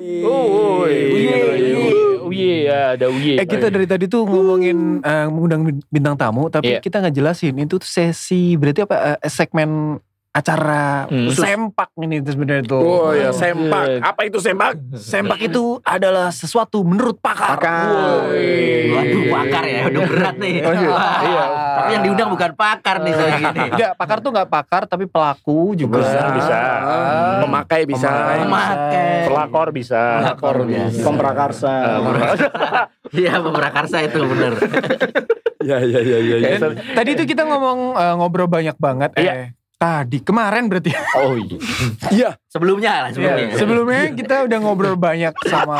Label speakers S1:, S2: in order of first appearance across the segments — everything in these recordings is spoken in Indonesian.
S1: Uye.
S2: Uye.
S3: iya.
S1: Uye ya ada Uye.
S2: Eh kita dari tadi tuh ngomongin eh, mengundang bin- bintang tamu tapi
S1: Iya.
S2: kita nggak jelasin itu tuh sesi berarti apa eh, segmen acara
S1: Hmm.
S2: sempak ini tuh sebenarnya tuh.
S3: Oh ya,
S1: Sem-
S3: sempak. Apa itu sempak?
S2: Sempak itu adalah sesuatu menurut pakar.
S3: Pakar.
S2: Woi.
S4: Waduh pakar ya, udah berat nih.
S3: Oh, iya. Ah.
S1: Iya.
S4: Tapi yang diundang bukan pakar nih saya gini.
S2: Enggak, pakar tuh nggak pakar tapi pelaku juga.
S1: Bisa, bisa.
S2: Ah.
S3: Memakai bisa.
S2: Pemakai.
S1: eh.
S4: Pemakai.
S1: pelakor bisa.
S4: Pelakor biasa.
S5: Pemprakarsa.
S4: Iya pemerakarsa itu bener.
S3: Ya ya ya ya. ya.
S2: Dan tadi itu kita ngomong eh, ngobrol banyak banget.
S1: Iya.
S2: Eh, tadi kemarin berarti.
S1: Oh iya.
S3: Iya.
S4: Sebelumnya lah sebelumnya.
S2: Iya, Sebelumnya kita udah ngobrol banyak sama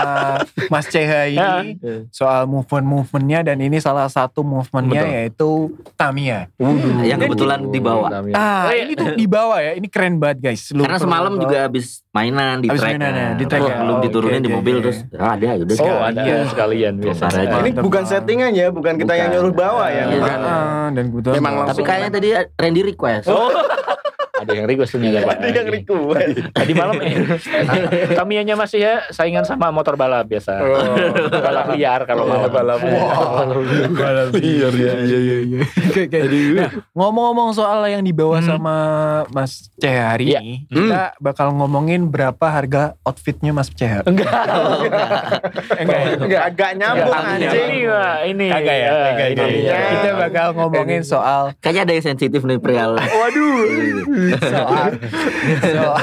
S2: Mas CH ini
S1: Ya.
S2: soal movement-movementnya dan ini salah satu movementnya
S1: Betul.
S2: yaitu Tamiya.
S4: Yang kebetulan dibawa.
S2: Ah,
S1: Oh, iya.
S2: ini tuh di bawah ya. Ini keren banget guys. Lu
S4: Karena
S2: perlu
S4: semalam
S2: tahu.
S4: juga habis mainan di
S2: Abis
S4: track.
S2: mainan ya,
S4: kan.
S2: di track
S4: Terus
S2: ya.
S4: Belum
S2: Oh,
S4: diturunin
S2: oke,
S4: di
S2: oke,
S4: mobil
S2: oke.
S4: terus ah, ada ya udah.
S1: Oh ada
S2: Sekalian.
S1: sekalian biasa.
S4: Parah aja.
S5: Ini bukan settingan ya, bukan kita yang
S4: Bukan.
S5: nyuruh bawah ya.
S1: kan
S3: kan?
S4: Iya.
S5: Bukan.
S2: Ah, dan kebetulan
S3: Memang
S2: bawah.
S4: Tapi
S3: langsung.
S4: kayaknya tadi Randy request.
S1: Oh. ada yang request ini ada Pak.
S5: Tadi yang Riku.
S1: Tadi malam ya. Kami hanya masih ya saingan sama motor balap biasa. balap liar kalau
S3: Balap
S1: malam. Iya,
S3: balap. Balap liar ya ya ya. ya.
S2: Oke, oke. Nah, ngomong-ngomong soal yang dibawa
S1: Hmm.
S2: sama Mas CH hari
S1: Iya.
S2: ini, kita bakal ngomongin berapa harga outfitnya Mas CH.
S1: Enggak.
S2: Enggak, ya?
S5: Enggak, agak
S3: Iya,
S5: nyambung
S2: Enggak,
S5: anjing.
S1: Ini Pak, ini.
S2: Kagak ya,
S1: Eh,
S2: kagak
S1: ini.
S2: ya.
S5: Iya.
S2: Kita bakal ngomongin soal
S4: Kayaknya ada yang sensitif nih perihal.
S2: soal soal,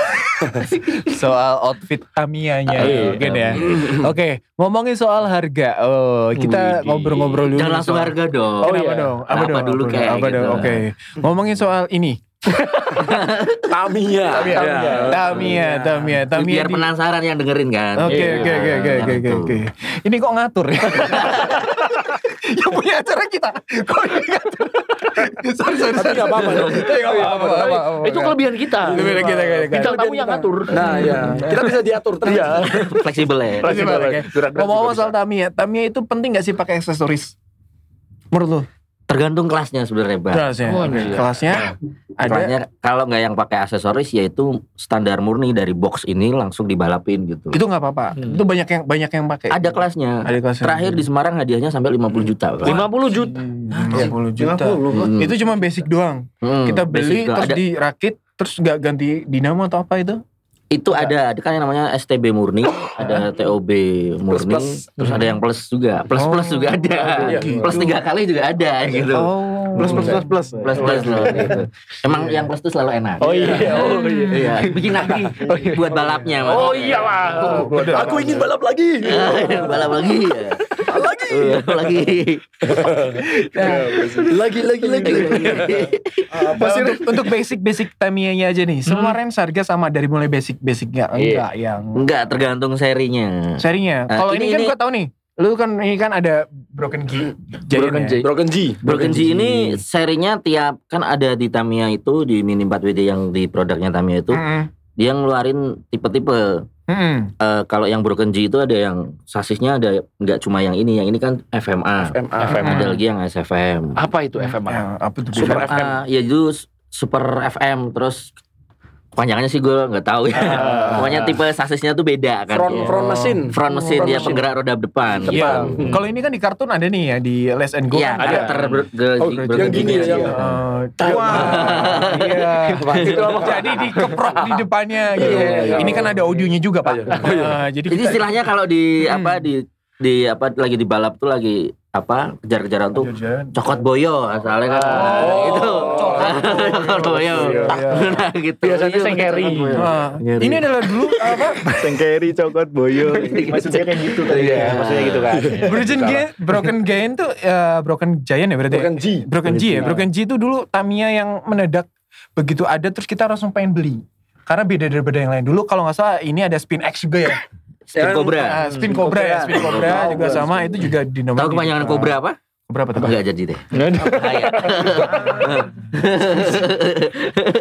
S2: soal outfit Tamiya-nya
S1: Iya.
S2: mungkin ya. Oke, ngomongin soal harga. Oh, kita
S1: Widih.
S2: ngobrol-ngobrol dulu.
S4: Jangan langsung
S2: soal-
S4: harga dong.
S1: Oh,
S2: Kenapa
S1: iya.
S2: dong? Apa,
S4: Kenapa
S2: dong?
S4: dulu
S2: Apa
S4: kayak
S2: dong? Apa
S4: gitu?
S2: dong? Oke. Ngomongin soal ini.
S3: Tamiya. Iya.
S2: Tamiya. Tamiya, Tamiya, Tamiya.
S4: Iya. Biar
S2: di-
S4: penasaran yang dengerin kan.
S2: Oke,
S1: Iya.
S2: oke, oke, oke, oke, oke, oke. Ini kok ngatur ya? Yang punya acara kita. Kok ini ngatur? sorry, sorry,
S3: Tapi
S2: sorry.
S3: nggak apa-apa dong.
S2: Eh, nggak apa-apa, nggak apa-apa, nggak
S1: Oh, iya. Itu kelebihan kita.
S2: apa-apa.
S4: Iya,
S2: Kelebihan kita, kelebihan kita.
S1: Bintang tamu yang ngatur.
S3: Nah ya, kita bisa diatur terus.
S1: Iya.
S4: Fleksibel ya.
S1: Fleksibel.
S2: Gimana,
S1: Gerak-gerak
S2: kayak-
S1: juga
S2: Ngomong-ngomong
S1: bisa.
S2: soal Tamiya, Tamiya itu penting gak sih pakai aksesoris? Menurut lu?
S4: Tergantung kelasnya sebenarnya, Bang.
S2: Kelasnya.
S1: Oh, iya.
S2: Kelasnya ada.
S4: Nah, Kelasnya kalau nggak yang pakai aksesoris yaitu standar murni dari box ini langsung dibalapin gitu.
S2: Itu gak apa-apa.
S1: Hmm.
S2: Itu banyak yang banyak yang pakai.
S4: Ada kelasnya.
S2: Ada kelasnya.
S4: Terakhir di Semarang hadiahnya sampai 50 juta. Bang.
S1: 50 juta.
S2: Hmm, 50 juta.
S5: 50.
S4: Hmm.
S2: Itu cuma basic doang.
S4: Hmm,
S2: Kita beli
S4: basic doang.
S2: terus
S4: Ada-
S2: dirakit terus gak ganti dinamo atau apa itu?
S4: itu ada ada kan yang namanya STB murni, ada TOB murni,
S3: Plus-plus.
S4: terus ada yang plus juga, plus plus
S2: Oh,
S4: juga ada,
S2: iya.
S4: plus tiga kali juga ada gitu.
S2: Oh. iya.
S5: Plus plus plus plus.
S4: Plus plus loh. gitu. Emang yang plus itu selalu enak.
S1: Oh iya. Oh iya.
S4: Iya, bikin lagi buat balapnya.
S1: Oh iya lah.
S3: Aku ingin balap lagi.
S4: makanya. Balap lagi. ya. Iya, lagi.
S3: Lagi lagi lagi. iya.
S2: Nah, untuk, untuk basic-basic Tamiya-nya aja nih. Semua
S4: Hmm.
S2: range harga sama dari mulai basic-basicnya.
S4: Iya.
S2: Enggak yang
S4: Enggak tergantung serinya.
S2: serinya.
S4: Nah,
S2: Kalau
S4: ini-
S2: ini, kan
S4: ini-
S2: gua tahu nih. Lu kan ini kan ada broken key.
S1: Broken G.
S3: Broken G.
S4: Broken G ini serinya tiap kan ada di Tamiya itu di Mini 4WD yang di produknya Tamiya itu
S2: Hmm,
S4: dia ngeluarin tipe-tipe Eh, kalau yang broken G itu ada yang sasisnya ada nggak cuma yang ini, yang ini kan FMA.
S3: FMA.
S1: FMA.
S4: Ada lagi yang SFM.
S1: Apa itu FMA?
S2: Ya, apa tuh?
S3: Super
S2: Broken-
S3: FM.
S4: Ah, ya itu s- Super FM terus panjangnya sih gue nggak tahu ya. Pokoknya tipe sasisnya tuh beda
S3: Ah.
S4: kan.
S3: Front
S4: ya.
S3: front mesin.
S4: Front mesin
S3: front
S4: dia
S3: mesin.
S4: penggerak roda depan.
S2: Iya.
S4: gitu.
S2: Kalau ini kan di kartun ada nih ya di Les and Go.
S4: Iya,
S2: kan ada.
S4: karakter bro- ge-
S3: Oh,
S4: broken
S3: yang
S4: G
S3: gini ya,
S4: nya.
S3: yang-
S2: Eh, wah, iya. Jadi dikeprok di depannya gitu.
S3: Iya, iya.
S2: Ini kan ada audionya juga, Pak. Eh, jadi
S4: Jadi
S2: kita-
S4: istilahnya kalau di apa di di apa lagi di balap tuh lagi apa kejar-kejaran tuh
S2: Iya,
S4: cokot boyo asalnya kan
S1: Oh,
S4: itu
S2: cokot
S4: cokot boyo
S2: Iya.
S4: nah gitu
S1: Biasanya Iya, sengkeri.
S4: cokot boyo.
S2: Wah, ini adalah dulu apa?
S5: Sengkeri cokot boyo.
S4: Maksudnya
S5: kayak gitu
S1: Iya, maksudnya gitu kan.
S2: Broken Giant, Broken Giant tuh eh, Broken Giant ya berarti. ya?
S3: Broken G.
S2: Broken
S3: Iya.
S2: G ya. Broken G itu dulu Tamiya yang menedak begitu ada terus kita langsung pengen beli. Karena beda daripada yang lain. Dulu kalau nggak salah ini ada Spin X juga ya.
S4: Spin
S3: Yang-
S4: kobra
S2: Ah, spin Cobra ya, Spin Cobra juga sama itu juga gitu. Ah. dinamo.
S4: tahu kepanjangan kobra apa
S2: Berapa tuh?
S4: enggak jadi deh bahaya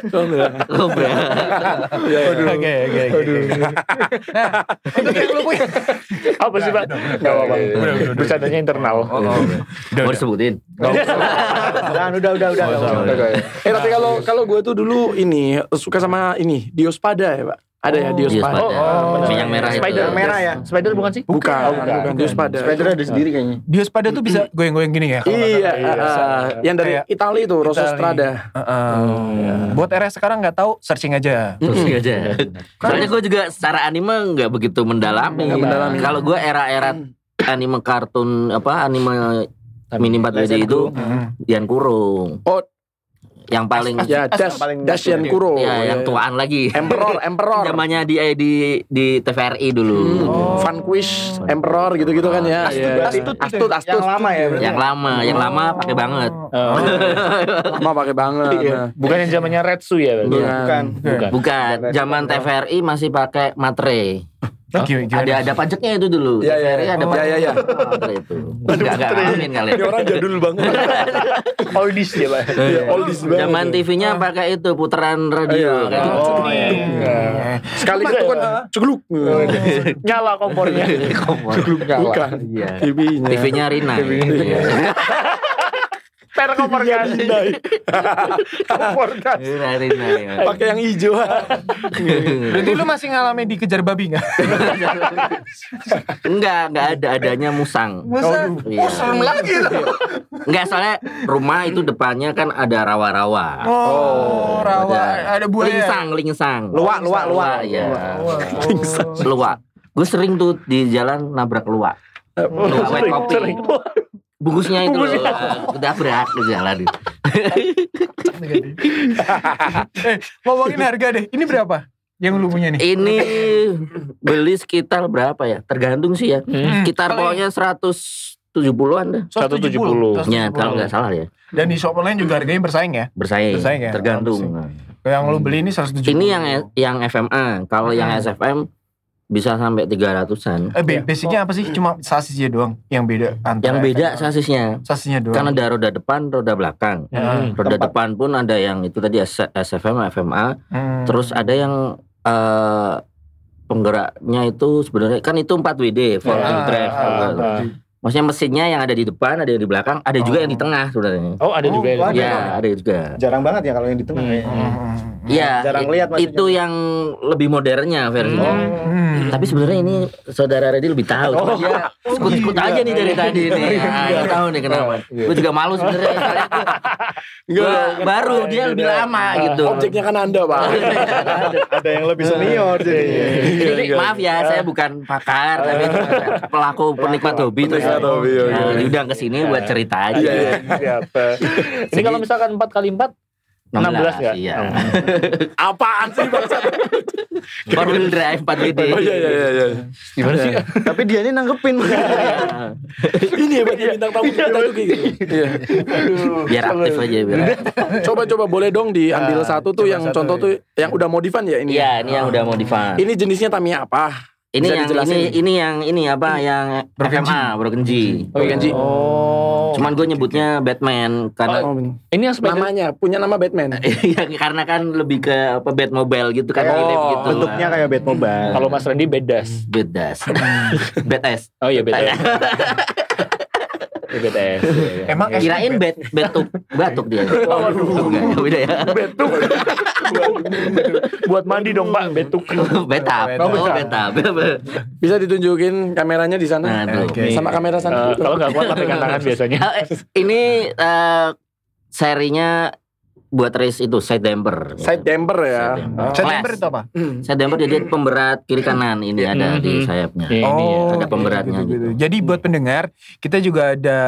S4: kobra
S2: Oke, oke, oke. Nah, untuk yang lu punya.
S1: Iya, Apa sih Pak? Gak apa-apa.
S2: Udah, udah, udah.
S1: Bercandanya internal.
S2: Nah,
S4: mau disebutin
S1: Nah,
S5: Dan udah udah
S1: Oh,
S5: udah.
S3: Oke. Eh tapi kalau kalau gue tuh dulu ini suka sama ini Diospada ya pak. Ada ya Dios
S4: Dios
S3: Pada.
S5: Iya,
S2: oh.
S4: Pada. Yang merah itu.
S1: Spider
S5: Yang merah ya?
S1: Spider bukan sih?
S3: Bukan,
S5: Oh, bukan.
S3: bukan. Dios Pada.
S5: Spider ada sendiri kayaknya.
S2: Diospada tuh bisa goyang-goyang gini ya? kalau nggak
S3: Iya,
S1: Iya,
S3: ah, ah. yang dari
S2: Kayak-
S3: Italia itu Rosso
S2: Itali.
S3: Strada.
S2: Heeh. Ah, Buat RS sekarang nggak tahu searching aja.
S4: Mm-mm. aja. Soalnya gue juga secara anime nggak begitu mendalami.
S3: Nggak mendalami.
S4: Kalau gue era-era anime kartun apa anime mini 4 WD itu
S2: Mm-mm.
S4: Dian Kurung.
S3: Oh.
S4: Yang paling
S3: Ya, Das,
S5: paling
S3: Das
S5: yang
S3: Yan Kuro.
S4: ya, yang tuaan lagi.
S3: Emperor, iya. Emperor.
S4: Zamannya di eh, di di TVRI dulu. Ah,
S3: Hmm.
S2: Oh.
S3: Vanquish, Emperor gitu-gitu kan ya.
S2: Astut
S3: Iya.
S2: berarti.
S3: Astut, Astut.
S5: Yang lama ya
S3: iya.
S5: berarti.
S4: Yang lama, yang lama pakai banget.
S1: Oh.
S3: Lama pakai banget. Nah, kan.
S1: Bukan yang zamannya Retsu ya? berarti?
S3: Iya, Bukan.
S5: Bukan.
S1: Bukan.
S4: Bukan, zaman TVRI masih pakai matre.
S2: Oh, gimana- gimana?
S4: Ada ada pajaknya itu dulu.
S3: Iya, iya,
S4: TVRI
S3: iya.
S4: ada
S3: Oh.
S4: pajaknya.
S3: Iya, iya,
S4: Matre itu. Enggak enggak ngalamin kalian.
S3: Ini orang jadul banget.
S1: Oldies ya Pak.
S3: Iya, oldies banget. Ah.
S4: Zaman TV-nya pakai itu putaran radio
S3: Iya.
S4: kan.
S1: Oh,
S3: Cegluk.
S1: iya. eh,
S3: Iya. Sekali itu kan Iya, cegluk.
S1: Nyala kompornya.
S4: Kompor.
S3: Enggak lah.
S4: Bukan. Iya.
S3: TV-nya.
S4: TV-nya Rina. Iya.
S1: Per kompor
S3: Iya,
S1: gas. Kompor gas.
S4: Rina, Rina. iya.
S3: Pakai yang hijau.
S2: Berarti lu masih ngalamin dikejar babi nggak?
S4: Enggak, enggak ada adanya musang.
S2: Masa? Oh,
S4: Iya.
S2: lagi
S4: Enggak soalnya rumah itu depannya kan ada rawa-rawa.
S2: Oh, rawa. Ada buaya.
S4: Lingsang, lingsang.
S5: Luwak, luwak, luwak.
S4: Iya.
S2: Oh.
S4: Luwak. Gue sering tuh di jalan nabrak luwak. Luwak
S1: Sering,
S4: white Iya, kopi.
S1: sering.
S4: Bungkusnya itu loh. eh, Udah berat di jalan.
S2: oh, Eh, ngomongin harga deh. Ini berapa? Yang lu punya nih?
S4: Ini beli sekitar berapa ya? Tergantung sih ya.
S2: Hmm,
S4: Sekitar pokoknya 170-an dah.
S1: 170.
S4: Ya, kalau nggak salah ya.
S2: Dan di shop online juga harganya bersaing ya.
S4: Bersaing.
S2: Bersaing ya,
S4: Tergantung.
S2: Yang lu beli ini 170.
S4: Hmm. Ini yang e- yang FMA. Kalau yang
S2: Hmm.
S4: SFM bisa sampai 300-an.
S2: eh, ba- basicnya apa sih? Cuma sasisnya doang yang beda
S4: Iya. Yang
S2: antara
S4: beda
S2: efek-
S4: sasisnya.
S2: sasisnya doang.
S4: Kan ada roda depan, roda belakang.
S1: Hmm.
S4: Roda
S5: Tempat.
S4: depan pun ada yang itu tadi S- SFM, FMA.
S2: Hmm.
S4: Terus ada yang eh, penggeraknya itu sebenarnya kan itu 4 WD, four
S1: Ya,
S4: wheel drive.
S2: ah,
S4: Bukan.
S1: ah.
S4: Maksudnya mesinnya yang ada di depan, ada yang di belakang, ada juga
S2: Oh.
S4: yang di tengah sebenarnya.
S1: Oh ada juga
S5: Oh,
S1: ya.
S5: ada
S4: Iya,
S5: dong.
S4: ada juga.
S5: Jarang banget ya kalau yang di tengah
S1: Hmm.
S5: ya.
S2: Hmm.
S4: Iya,
S5: Jarang
S4: i-
S5: lihat maksudnya.
S4: itu yang lebih modernnya versinya.
S1: Oh.
S2: Hmm.
S4: Tapi sebenarnya ini saudara Reddy lebih tahu.
S1: Oh.
S4: Dia
S3: iya.
S4: Sekut-sekut
S3: Oh,
S4: aja nih dari tadi nih. Ah, nggak tahu nih kenapa.
S3: iya.
S4: Gue juga malu sebenarnya. Soalnya gua-
S3: Enggak.
S4: gua baru
S3: Iya,
S4: dia lebih lama gitu.
S3: Ah. Objeknya kan Anda, Pak.
S5: Ada yang lebih senior
S1: Iya,
S5: jadi.
S3: Iya,
S4: Jadi maaf ya, saya
S3: Ah.
S4: bukan pakar, tapi cuma pelaku penikmat hobi. terus
S3: penikmat hobi, iya, oke.
S4: Nah, diundang ke sini buat cerita aja.
S3: Iya, iya.
S1: Siapa? Ini kalau misalkan 4 kali 4 16
S3: ya?
S1: nggak? Hmm.
S4: Iya.
S3: Ah. Apaan sih, Bang?
S4: Four wheel drive 4 WD.
S3: Oh iya iya iya, iya.
S1: Gimana sih?
S5: Tapi dia ini nanggepin.
S4: Iya.
S3: Ini hebatnya bintang tamu kita tuh kayak gitu. Iya.
S4: Biar aktif aja biar. aktif.
S3: Coba coba boleh dong
S2: Ah,
S3: diambil Iya. satu tuh
S2: coba
S3: yang
S2: satu,
S3: contoh tuh yang udah modifan ya ini.
S4: Iya, ini yang udah modifan.
S3: Ini jenisnya Tamiya apa?
S4: Ini
S3: bisa
S4: yang
S3: dijelasin.
S4: ini ini yang ini apa yang
S2: Broken
S4: FMA Brokenji.
S3: Oh, Broken G.
S1: iya. Oh.
S4: Iya, Cuman gue nyebutnya Batman karena
S3: Oh,
S1: ini yang Spider
S3: namanya punya nama Batman.
S4: Iya, karena kan lebih ke apa Batmobile gitu kan
S5: Kayak-
S4: mirip
S3: Oh,
S4: gitu.
S5: Bentuknya kayak Oh. Batmobile.
S1: Kalau Mas Randy bedas.
S4: Bedas. Bedas.
S1: Oh iya bedas. Iya, bedas. Iya, iya.
S2: Emang
S1: Iya.
S4: Kirain bet betuk batuk dia. Waduh. Enggak, beda ya.
S1: buat mandi dong Pak betuk.
S4: Beta.
S2: Oh,
S4: Oh, beta.
S3: Bisa ditunjukin kameranya di sana.
S4: Nah, tuh.
S2: Oke.
S3: Sama
S1: Eh,
S3: kamera sana.
S1: kalau nggak kuat tapi tangan biasanya.
S4: Eh, eh, ini eh, serinya buat race itu side damper.
S3: Side damper ya.
S4: Side damper.
S2: September itu apa?
S4: Side damper jadi pemberat kiri kanan ini ada di
S1: Mhm.
S4: sayapnya.
S1: Iya, ini ya.
S2: Oh,
S4: ada pemberatnya
S2: gitu-gitu.
S4: gitu.
S2: Jadi buat pendengar, kita juga ada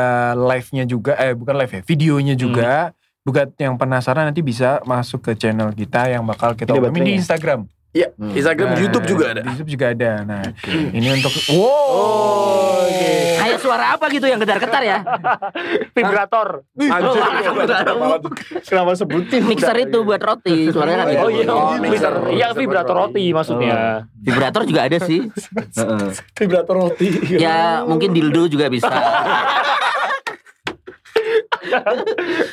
S2: live-nya juga, eh bukan live ya,
S4: Hmm.
S2: videonya juga. Buat yang penasaran nanti bisa masuk ke channel kita yang bakal kita
S5: Ini
S2: umumin di
S5: baterainya.
S2: Instagram.
S3: Iya,
S4: Hmm.
S3: Instagram,
S2: Nah,
S3: YouTube juga ada.
S2: Di YouTube juga ada. Nah, ini untuk wow.
S3: Oh,
S2: Oh.
S4: Kayak suara apa gitu yang gedar-getar ya?
S1: Vibrator.
S3: Anjir,
S5: Kenapa sebutin?
S4: Mixer itu buat roti, suaranya kan
S3: Oh,
S4: gitu.
S3: iya,
S5: Oh,
S1: mixer. Iya vibrator roti
S2: Oh.
S1: maksudnya.
S4: Vibrator juga ada sih. Heeh.
S5: Vibrator roti.
S4: ya mungkin dildo juga bisa.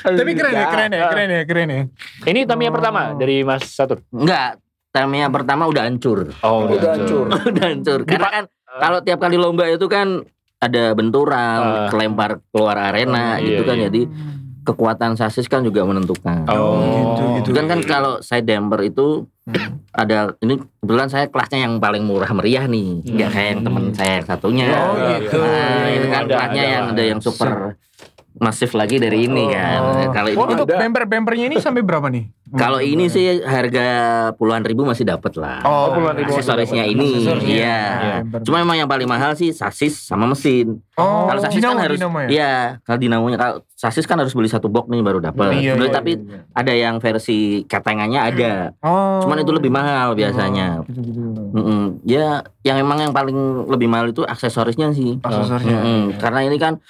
S2: Tapi keren ya, keren ya, keren ya, keren ya.
S1: Ini Tamiya
S2: Oh.
S1: pertama dari Mas Satur.
S4: Enggak, Tamiya pertama udah hancur.
S1: Oh,
S3: Udah hancur.
S4: udah hancur. Karena kan kalau tiap kali lomba itu kan ada
S1: Ah.
S4: benturan, kelempar keluar arena
S1: Ah,
S4: gitu
S1: iya,
S4: kan.
S1: iya.
S4: Jadi kekuatan sasis kan juga menentukan.
S1: Oh,
S2: gitu, gitu.
S4: Bukan
S1: iya.
S4: kan kalau side damper itu ada ini kebetulan saya kelasnya yang paling murah meriah nih, nggak kayak yang teman saya yang satunya.
S2: Oh,
S1: iya.
S2: gitu.
S4: ya? Nah, itu kan
S1: Ada,
S4: kelasnya
S1: ada.
S4: yang ada yang super masif lagi dari ini kan. Kalau ini
S2: Oh, untuk bemper-bempernya ini sampai berapa nih?
S4: kalau ini sih harga puluhan ribu masih dapat lah.
S2: Oh,
S1: puluhan ribu.
S4: aksesorisnya ini,
S2: Aksesorisnya.
S4: iya.
S2: Iya.
S4: Cuma memang yang paling mahal sih sasis sama mesin.
S2: Oh,
S4: kalau sasis
S2: dinamo,
S4: kan harus,
S2: dinamo ya?
S4: iya. Kalau dinamonya kalau sasis kan harus beli satu box nih baru dapat.
S2: Iya, iya,
S4: tapi ada yang versi ketengannya ada.
S2: Oh.
S4: Cuman itu lebih mahal biasanya.
S2: Gitu-gitu.
S4: Mm-mm. Ya, yang emang yang paling lebih mahal itu aksesorisnya sih.
S2: Aksesorisnya.
S4: Mm-mm. Karena ini kan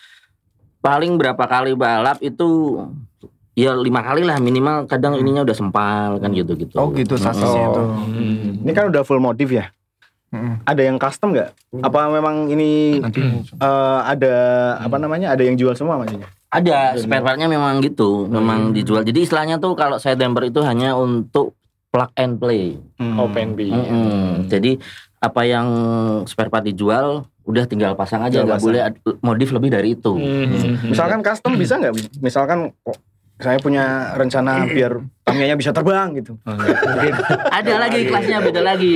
S4: paling berapa kali balap itu ya lima kali lah minimal. Kadang ininya udah sempal kan gitu-gitu.
S2: Oh, gitu sasisnya
S5: Hmm. Oh.
S2: tuh.
S5: Ini kan udah full motif ya.
S2: Mm-mm.
S5: Ada yang custom nggak? Apa memang ini
S2: Nanti
S5: eh, ada apa namanya? Ada yang jual semua ya? maksudnya?
S4: Ada
S5: Iya.
S4: spare partnya memang gitu,
S5: Hmm.
S4: memang dijual. Jadi istilahnya tuh kalau saya damper itu hanya untuk plug and play.
S1: Open B.
S5: Hmm.
S4: Mm-mm. Jadi apa yang spare part dijual udah tinggal pasang aja,
S5: Tinggal
S4: nggak
S5: pasang.
S4: boleh ad- modif lebih dari itu.
S5: Misalkan custom bisa nggak? Misalkan kok saya punya rencana biar tamianya bisa terbang gitu.
S4: Ada lagi kelasnya beda lagi.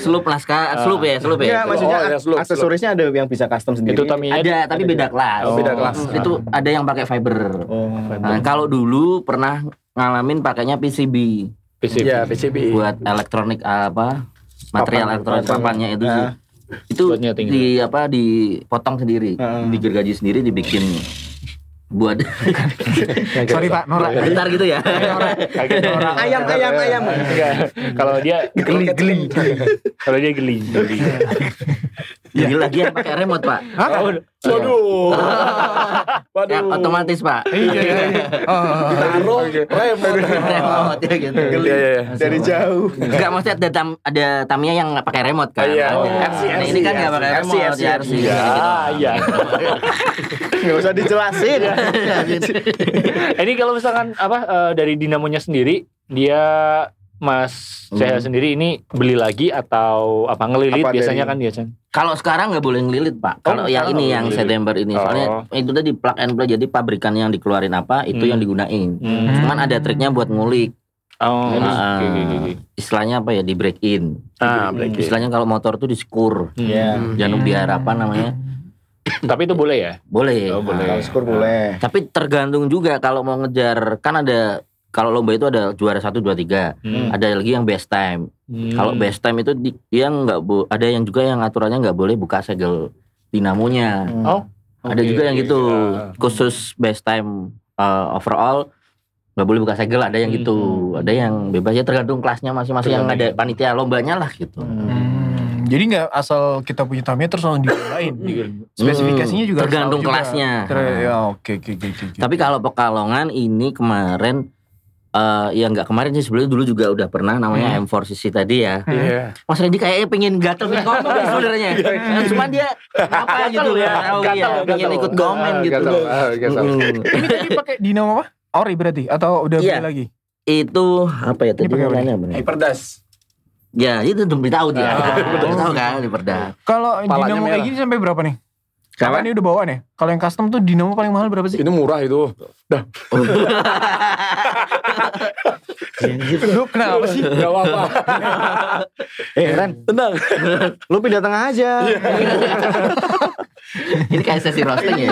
S4: Sloop laska, sloop ya, sloop
S5: Iya,
S4: ya.
S5: maksudnya
S3: Oh, ya,
S5: ak-
S3: slope,
S5: aksesorisnya ada yang bisa custom sendiri.
S1: Itu Tamiya
S4: Ada tapi beda kelas.
S1: Oh, beda
S3: kelas.
S4: Mm, Itu ada yang pakai fiber.
S5: Oh.
S4: Nah, kalau dulu pernah ngalamin pakainya PCB
S1: PCB.
S3: Iya, PCB.
S4: buat elektronik apa material
S5: Papan,
S4: elektronik
S5: papan.
S4: papannya itu sih.
S5: Ah.
S4: Itu
S1: Buat nyeting.
S4: di apa dipotong sendiri,
S5: Ah.
S4: digergaji sendiri dibikin buat
S2: Sorry Pak, norak.
S4: gitar gitu ya.
S5: Ayam, ayam, ayam.
S1: Kalau dia geli, geli. Kalau dia geli, geli.
S4: Lagi lagi yang pakai remote, Pak.
S3: Waduh.
S4: Ya,
S3: Waduh.
S4: otomatis, Pak.
S2: Iya, iya, iya. Oh,
S3: Taruh remote.
S4: remote ya gitu.
S3: Iya, iya, iya.
S5: Dari jauh.
S4: Enggak maksudnya ada tam, ada Tamiya yang nggak pakai remote kan.
S3: Iya.
S4: Ada.
S3: Oh.
S4: Nah,
S3: RC,
S4: ini kan
S1: iya,
S4: nggak pakai
S5: RC,
S4: remote
S5: RC.
S4: ya RC.
S5: Iya,
S1: Ah, iya.
S5: Nggak usah dijelasin.
S1: Ini kalau misalkan apa eh, dari dinamonya sendiri dia Mas saya sendiri ini beli lagi atau apa ngelilit
S5: Apa
S1: biasanya
S5: dari-
S1: kan biasanya.
S4: Kalau sekarang nggak boleh ngelilit, Pak. Kalau
S1: Oh, sekarang
S4: yang ini
S1: nggak
S4: yang
S1: boleh
S4: September ini
S1: Oh.
S4: soalnya itu tadi plug and play jadi pabrikan yang dikeluarin apa itu
S1: Hmm.
S4: yang digunain.
S1: Hmm.
S4: Cuman ada triknya buat ngulik.
S1: Oh,
S4: Nah,
S1: oke, oke, oke.
S4: Istilahnya apa ya di break in.
S1: Ah, break in.
S4: Istilahnya kalau motor tuh di skur.
S5: Iya.
S4: Jangan biar apa namanya?
S1: Hmm. Tapi itu boleh ya?
S4: Boleh.
S1: Oh, boleh.
S4: Nah,
S5: Kalau skor boleh.
S4: Tapi tergantung juga kalau mau ngejar kan ada kalau lomba itu ada juara 1 2 3.
S1: Hmm.
S4: Ada lagi yang best time.
S1: Hmm.
S4: Kalau best time itu di- dia nggak bo- ada yang juga yang aturannya nggak boleh buka segel dinamonya.
S1: Oh,
S4: ada
S1: oke,
S4: juga yang
S1: oke.
S4: gitu.
S1: Ah.
S4: Khusus best time uh, overall nggak boleh buka segel ada yang
S1: Hmm.
S4: gitu ada yang bebas ya tergantung kelasnya masing-masing yang ada panitia lombanya lah gitu
S2: Hmm, jadi nggak asal kita punya Tamiya terus langsung dijualain.
S1: Iya.
S2: Spesifikasinya
S4: Hmm,
S2: juga harus
S4: tergantung
S2: tahu juga.
S4: kelasnya. Ah.
S2: Ter- ya, oke oke oke. oke.
S4: Nah. Tapi kalau Pekalongan ini kemarin eh ya nggak kemarin sih sebelumnya dulu juga udah pernah namanya
S2: Hmm.
S4: M4CC tadi ya.
S3: Iya.
S4: Mas Randy kayaknya pengen gatel nih ngomong nih sebenarnya. Nah, Cuman dia apa gitu ya, tahu ya, pengen ikut komen gitu.
S3: Gatel, ah, gatel.
S4: Mm-mm.
S2: ini tadi pakai dinamo apa? Ori berarti atau udah
S4: Iya.
S2: beli lagi?
S4: Itu apa ya tadi
S2: Ini pakai apa
S4: namanya apa ya?
S3: Hyperdas.
S4: Ya itu belum tahu dia. Belum tahu kan di Perda.
S2: Kalau
S3: Palanya
S2: dinamo kayak
S3: merah.
S2: gini sampai berapa nih?
S4: Kalau
S2: Kalau ini udah bawaan ya? Kalau yang custom tuh dinamo paling mahal berapa sih?
S3: Itu murah itu. Dah,
S2: Lu kenapa sih?
S3: enggak apa-apa.
S5: Eh, Ren,
S3: Tenang.
S5: lu pindah tengah aja.
S1: Iya.
S4: ini kayak sesi roasting ya.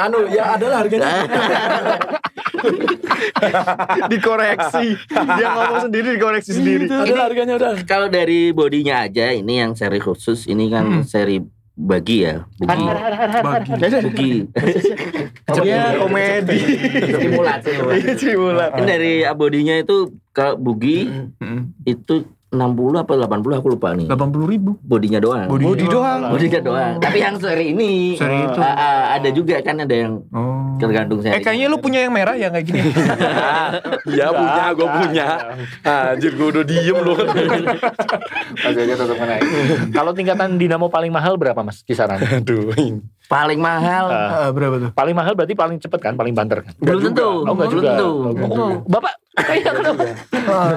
S3: Anu, ya adalah harganya.
S5: dikoreksi. Dia ngomong sendiri dikoreksi
S1: Iya,
S5: sendiri.
S3: Adalah harganya udah.
S4: Kalau dari bodinya aja ini yang seri khusus ini kan seri bagi ya, bugi. Bugi.
S5: Iya, komedi.
S4: Simulasi.
S5: Cimulat.
S4: Ini dari bodinya itu kalau bugi itu 60 apa 80 aku lupa nih.
S2: Delapan puluh ribu.
S4: Bodinya doang.
S2: Body
S5: Bodi doang.
S4: Bodinya doang.
S5: Hmm.
S4: Tapi yang seri ini
S2: Seri itu.
S4: ah, ah, ada juga kan ada yang
S2: Oh.
S4: tergantung
S2: Eh
S4: seri.
S2: kayaknya lu punya yang merah ya kayak gini.
S3: Iya punya, gue punya. Anjir, gue udah diem loh.
S1: Kalau tingkatan dinamo paling mahal berapa Mas kisaran?
S3: Aduh, ini.
S4: paling mahal.
S1: Ah,
S2: Ah, berapa tuh?
S1: paling mahal berarti paling cepet kan, paling banter kan?
S4: belum tentu.
S1: Oh, enggak
S4: belum
S1: juga.
S4: tentu.
S1: Oh, Bapak, kayaknya kenapa?
S5: Iya.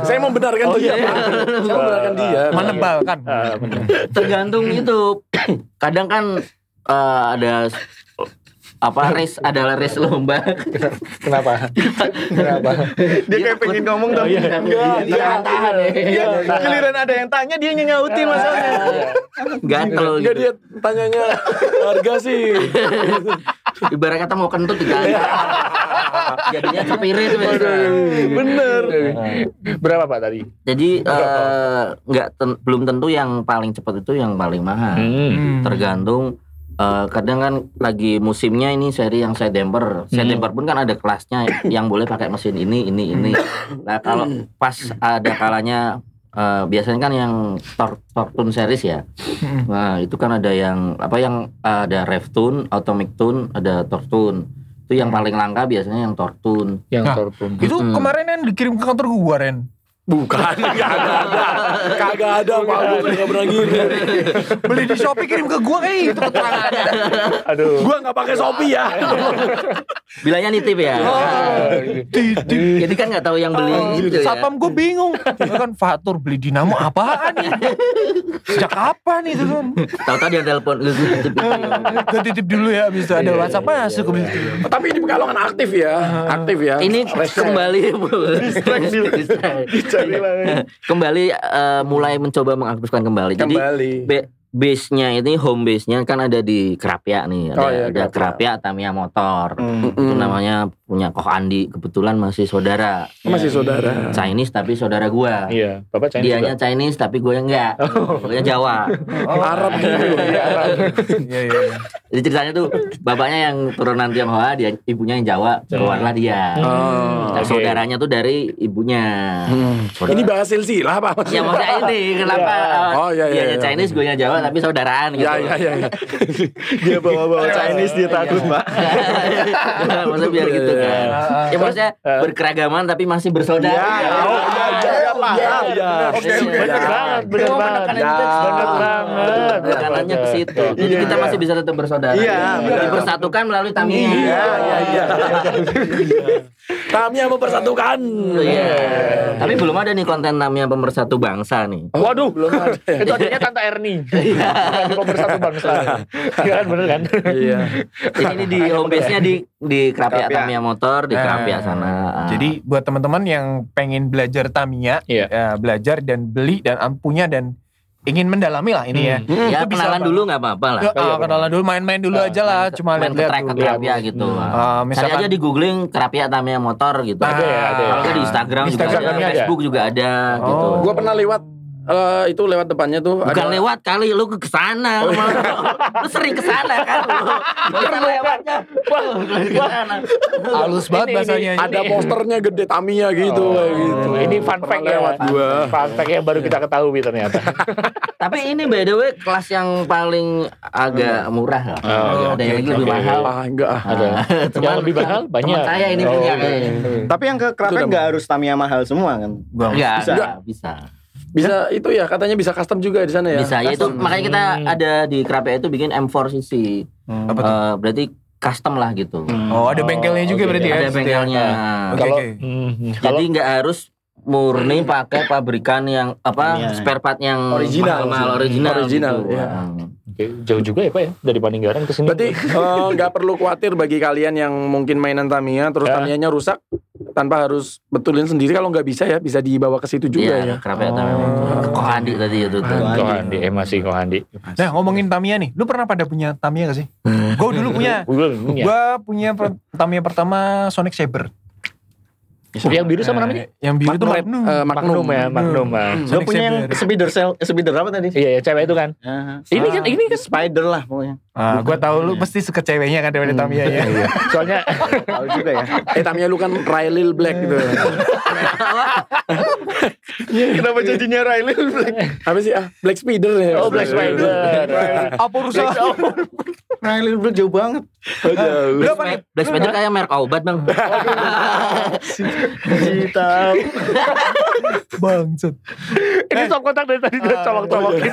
S3: Saya membenarkan dia. Pak. Saya membenarkan dia.
S2: Menebalkan.
S1: Ah, bener.
S4: Tergantung itu. Kadang kan eh, ada apa race adalah race lomba.
S1: Kenapa? Kenapa?
S5: Dia kayak pengen ngomong
S1: Oh,
S5: tapi
S1: iya.
S4: Tahan, tahan ya.
S5: Iya.
S1: Nah.
S5: giliran ada yang tanya dia
S1: Ah.
S5: nyautin masalahnya.
S4: Gatel
S3: Enggak
S4: gitu.
S3: dia tanyanya harga sih.
S4: Ibarat kata mau kentut
S5: Iya.
S4: diganti. Jadinya kepirit.
S3: Bener.
S1: Ah. Berapa Pak tadi?
S4: Jadi eh, nggak ten- belum tentu yang paling cepat itu yang paling mahal.
S1: Hmm.
S4: tergantung eh, kadang kan lagi musimnya ini seri yang side damper side
S1: Hmm.
S4: damper pun kan ada kelasnya yang boleh pakai mesin ini ini ini nah kalau pas ada kalanya eh, biasanya kan yang tor tortun series ya
S2: Hmm.
S4: nah itu kan ada yang apa yang eh, ada rev tune automic tune ada tortun itu
S1: Hmm.
S4: yang paling langka biasanya yang tortun
S1: Yang
S2: Nah.
S1: torpun.
S2: Itu
S4: Mm-mm.
S2: kemarin yang dikirim ke kantor gua Ren.
S3: Bukan, kagak ada. Kagak ada, Pak. Gue nggak pernah ngirim.
S2: Beli di Shopee kirim ke gua eh itu keterangan.
S1: Aduh.
S3: Gue nggak pakai Shopee ya.
S4: bilangnya nitip ya
S1: Oh.
S4: jadi kan nggak tahu yang beli
S3: Oh,
S4: gitu ya
S2: Satpam gua bingung. Itu kan Fatur beli dinamo apaan nih? Sejak kapan itu kan?
S4: tahu-tahu dia telepon lu nitip itu.
S2: Gua titip dulu ya abis itu ada WhatsApp masuk abis itu.
S3: Tapi ini Pekalongan aktif ya. Aktif ya.
S4: ini
S3: Resnya.
S4: kembali kembali eh, mulai mencoba mengaktifkan kembali. Jadi
S3: Kembali.
S4: be- base-nya ini home base-nya kan ada di Kerapia nih, ada
S3: Oh, iya, Hmm.
S4: ada Kerapia Tamiya Motor.
S1: Hmm.
S4: Itu namanya punya Koh Andi kebetulan masih saudara.
S3: Masih saudara.
S4: Chinese tapi saudara gua.
S1: Iya, Bapak Chinese
S4: Dianya Chinese tapi gue enggak.
S3: Oh.
S4: Gue Jawa.
S2: Oh.
S3: Arab gitu.
S2: Iya iya. iya.
S4: Jadi ceritanya tuh bapaknya yang turunan Tionghoa, dia ibunya yang Jawa, keluarlah dia.
S3: Oh.
S4: Dan
S1: oke.
S4: saudaranya tuh dari ibunya.
S3: Hmm.
S4: Hmm.
S3: Ini bahas silsilah, Pak.
S4: Ya maksudnya ini kenapa eh,
S3: Oh, iya, iya,
S4: dianya
S3: iya.
S4: Chinese gue Jawa tapi saudaraan gitu.
S3: Ya, ya, ya, ya.
S1: Iya.
S5: dia bawa-bawa Chinese dia takut, Pak.
S4: maksudnya biar gitu
S3: Iya,
S4: kan. Ya maksudnya berkeragaman tapi masih
S5: Iya.
S1: iya.
S4: bersaudara.
S3: Ya, oh, ya, ya, ya, Pak. Ya, ya.
S4: Oke, oke.
S1: Bener banget, Ah. bener
S4: Cuma
S1: banget.
S4: penekanan itu.
S5: Iya.
S1: Bener banget.
S4: Tekanannya ke situ. Jadi
S3: Iya,
S4: kita
S3: iya.
S4: masih bisa tetap bersaudara.
S5: Iya, benar.
S4: Dipersatukan melalui Tamiya.
S3: Iya, iya, iya. Kami yang mempersatukan.
S4: Iya. Tapi belum ada nih konten Tamiya pemersatu bangsa nih.
S1: Waduh, Oh, belum ada. Iya. itu adanya Tante Erni. Bukan di pemersatu bangsa. Iya kan bener kan?
S3: Iya.
S4: Jadi ini di home base-nya di di Krapia Tamiya Motor di
S2: Nah,
S4: Krapia sana. Ah.
S2: Jadi buat teman-teman yang pengen belajar Tamiya,
S1: Iya.
S2: ya, belajar dan beli dan am- punya dan ingin mendalami lah ini ya.
S4: ya
S2: itu bisa
S4: kenalan
S2: apa?
S4: dulu nggak apa-apa lah.
S2: Ya, ah, kenalan dulu, main-main dulu aja lah, cuma
S4: main ke
S2: lihat-lihat
S4: track ke
S2: dulu.
S4: Kerapia gitu.
S2: Ah,
S4: Cari
S2: misalkan
S4: aja di googling Kerapia Tamiya Motor gitu.
S2: Nah,
S1: Ada ya, ada ya.
S4: Kalau nggak di Instagram, juga
S1: Instagramnya
S4: ada,
S1: ada.
S4: Facebook juga ada
S2: Oh.
S4: gitu.
S3: Gue pernah lewat eh, itu lewat depannya tuh
S4: Bukan
S3: ada-
S4: lewat kali lu ke sana. lu mau. lu sering ke sana kan lu. Bukan lewatnya. Lu ke sana.
S2: halus banget
S1: Ini, ini,
S2: bahasanya.
S1: ini. Oh,
S3: ada posternya gede Tamiya gitu kayak gitu.
S1: Ini fun
S3: Pernah
S1: fact ya.
S3: lewat gua.
S1: Fun fact yang baru kita ketahui ternyata.
S4: Tapi ini by the way kelas yang paling agak murah lah.
S1: Oh,
S4: ada yang
S1: oke,
S4: lebih
S1: oke.
S4: mahal.
S3: Ah, enggak. ah.
S1: Ada.
S4: Cuman
S1: Yang lebih mahal
S4: teman
S1: banyak.
S4: saya ini
S1: Oh,
S4: punya
S1: oke.
S4: kayaknya.
S5: Tapi yang ke Kraken nggak harus Tamiya mahal semua kan?
S2: Gua-
S4: Enggak,
S5: Bisa.
S4: enggak bisa.
S3: Bisa itu ya katanya bisa custom juga di sana ya.
S4: Bisa. Ya itu
S3: Custom.
S4: makanya kita ada di Krapia itu bikin M4 CC.
S2: Apa tuh?
S4: Eh, berarti custom lah gitu.
S3: Hmm.
S2: Oh, ada bengkelnya juga
S1: oke,
S2: berarti
S1: oke.
S2: ya.
S4: Ada bengkelnya. Nah,
S2: Oke,
S1: Kalau
S2: oke.
S1: Hmm, kalau
S4: Jadi nggak harus murni pakai pabrikan yang apa
S5: Iya.
S4: spare part yang
S5: Original.
S4: mahal, original,
S3: Original,
S4: gitu.
S3: iya.
S4: Wah.
S1: oke, jauh juga ya Pak ya dari Paninggaran ke sini.
S3: Berarti eh, nggak perlu khawatir bagi kalian yang mungkin mainan Tamiya terus
S1: Ya.
S3: Tamiya-nya rusak tanpa harus betulin sendiri kalau nggak bisa ya bisa dibawa ke situ juga
S4: Iya,
S3: ya.
S4: kerapia Tamiya. Kok Andi tadi itu tuh.
S1: Kohandi, eh masih Kohandi.
S2: Nah, ngomongin Tamiya nih. Lu pernah pada punya Tamiya gak sih? Gue dulu punya.
S1: Google ini ya.
S2: Gua punya per- Tamiya pertama Sonic Saber.
S1: Yang biru sama namanya?
S2: Yang biru itu
S3: Magnum,
S2: Eh, Magnum.
S3: eh, Magnum.
S1: Magnum ya, Magnum. ah.
S5: Gue
S2: Sonic
S5: punya yang
S2: Saber.
S5: speeder cell, speeder apa tadi?
S1: Iya, ya, cewek itu kan. Ini kan ini kan
S5: Spider lah pokoknya.
S2: Ah, gua tahu lu pasti suka ceweknya kan daripada Tamiya ya.
S1: soalnya
S5: Tahu juga ya.
S3: Eh Tamiya lu kan Riley Black gitu.
S1: Iya.
S5: Kenapa jadinya Riley Black?
S3: Apa sih ah Black Spider ya.
S1: oh Black Spider.
S2: Apa rusak?
S1: Nah,
S5: Riley Black jauh banget.
S3: Aduh.
S2: Lu apa nih?
S4: Black Spider kayak merek obat bang.
S5: Hitam.
S2: Bangsat.
S1: Ini sok kontak dari tadi udah colok-colokin.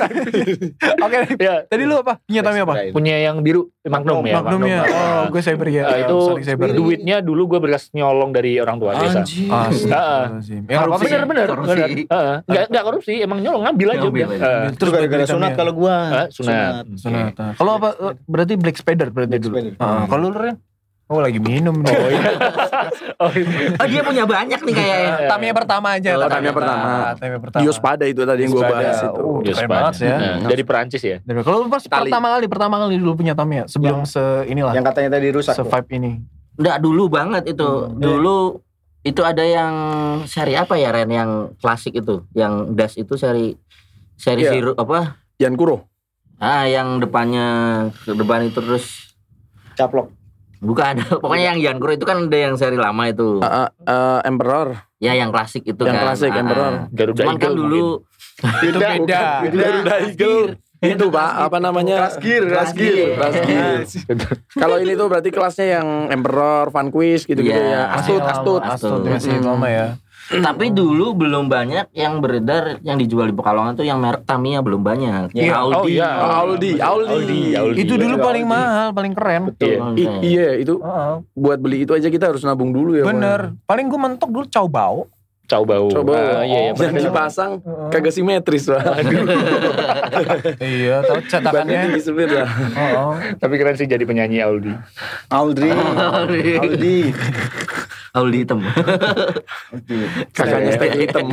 S2: Oke,
S1: Ya,
S2: tadi lu apa? Punya Tamiya apa?
S1: punya yang biru Magnum ya.
S2: Magnum ya. Oh, gue Saber ya.
S1: Eh, itu
S2: Sonic Saber.
S1: duitnya dulu gue berkas nyolong dari orang tua desa.
S3: Anjir.
S2: Astagfirullahaladzim. Ah, Ya, apa
S4: Korupsi.
S2: sih?
S1: Bener bener
S4: Korupsi.
S1: bener. Heeh. Nggak nggak korupsi, emang nyolong ngambil aja.
S4: Ngambil
S1: udah.
S4: aja.
S1: Heeh.
S5: Terus gara-gara sunat kalau gua.
S1: Eh, sunat.
S2: Sonata. Kalau apa? eh, Berarti Black Spider berarti
S5: Black
S2: dulu.
S5: Spider.
S2: Heeh, Kalau lu Ren? Oh lagi minum. Oh iya.
S1: Oh, iya.
S4: Oh dia punya banyak nih kayaknya.
S2: Tamiya pertama aja.
S3: Oh, Tamiya pertama.
S2: Tamiya pertama.
S3: Dios pada itu tadi yang gue
S2: Dios
S3: bahas
S2: pada.
S3: itu.
S2: Oh,
S1: Yus
S2: keren
S1: Pan.
S2: banget sih ya.
S1: Nah, Dari Perancis ya.
S2: Dari- Kalau lu pas
S3: Itali.
S2: pertama kali, pertama kali dulu punya Tamiya sebelum se inilah,
S5: Yang katanya tadi rusak.
S2: se
S5: tuh.
S2: vibe ini.
S4: Enggak dulu banget itu.
S3: iya.
S2: Hmm.
S4: Dulu itu ada yang seri apa ya Ren yang klasik itu, yang das itu seri seri
S3: Iya.
S4: zero apa?
S3: Yan Kuro.
S4: Ah yang depannya ke depan itu terus
S5: Caplok.
S4: bukan pokoknya yang Yankuro itu kan ada yang seri lama itu.
S3: Ah, ah, ah, Emperor.
S4: Ya yang klasik itu
S3: Yang
S4: kan.
S3: klasik,
S4: Ah,
S3: Emperor.
S4: ah.
S1: Garuda
S4: Cuman kan
S1: Eagle
S4: dulu
S2: Itu beda.
S3: Bukan, Garuda Eagle. Itu pak, apa namanya?
S5: Rasgir,
S4: Rasgir.
S5: rasgir, rasgir.
S1: Iya.
S3: Kalau ini tuh berarti kelasnya yang Emperor, Fun Quiz gitu-gitu
S4: Iya.
S3: ya. Astut,
S2: Masih
S3: astut.
S2: lama, Astut
S4: Astut.
S2: masih
S3: Mm-mm.
S2: lama ya.
S4: Tapi dulu belum banyak yang beredar yang dijual di Pekalongan tuh yang merek Tamiya belum banyak.
S1: Iya.
S4: Audi.
S1: Oh, iya.
S3: Oh, Audi, Audi.
S1: Audi, Audi.
S2: Itu dulu
S5: Iya.
S2: paling mahal, paling keren.
S1: Iya.
S3: I-
S4: Hmm.
S3: iya, itu
S2: Heeh.
S3: buat beli itu aja kita harus nabung dulu ya. Pak.
S2: Bener. Paling gue mentok dulu Cao Bao.
S1: Cao Bau.
S3: Coba
S1: Ah, iya, iya,
S3: yang
S1: benar.
S3: dipasang kagak simetris pak.
S2: Iya, tahu
S3: Bahannya
S2: cetakannya.
S3: tinggi sempit lah.
S2: Heeh.
S1: Tapi keren sih jadi penyanyi Audi.
S5: Audrey,
S4: Audrey.
S5: Audi,
S4: Audi hitam.
S3: Kakaknya
S1: Iya.
S3: stek hitam.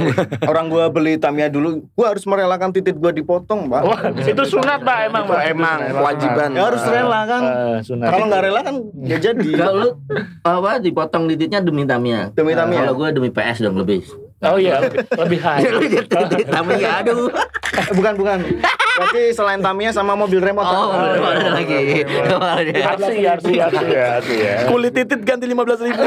S5: Orang gua beli Tamiya dulu, gua harus merelakan titik gua dipotong, Pak.
S1: Wah, itu sunat pak emang pak.
S3: Emang
S1: Itu sunat.
S3: kewajiban.
S5: Ya harus rela kan.
S1: Eh, sunat.
S5: Kalau nggak rela kan ya jadi.
S4: Kalau lu apa dipotong titiknya demi Tamiya.
S5: Demi Tamiya.
S4: Kalau gue demi PS dong lebih.
S1: Oh iya, lebih- lebih high.
S4: Lu jadi titik Tamiya aduh.
S5: Eh, bukan bukan. Berarti selain Tamiya sama mobil remote.
S4: Oh,
S5: kan?
S4: boleh, boleh lagi. Boleh.
S1: Arsi, arsi, arsi ya, arsi ya.
S3: Kulit titit ganti 15 ribu.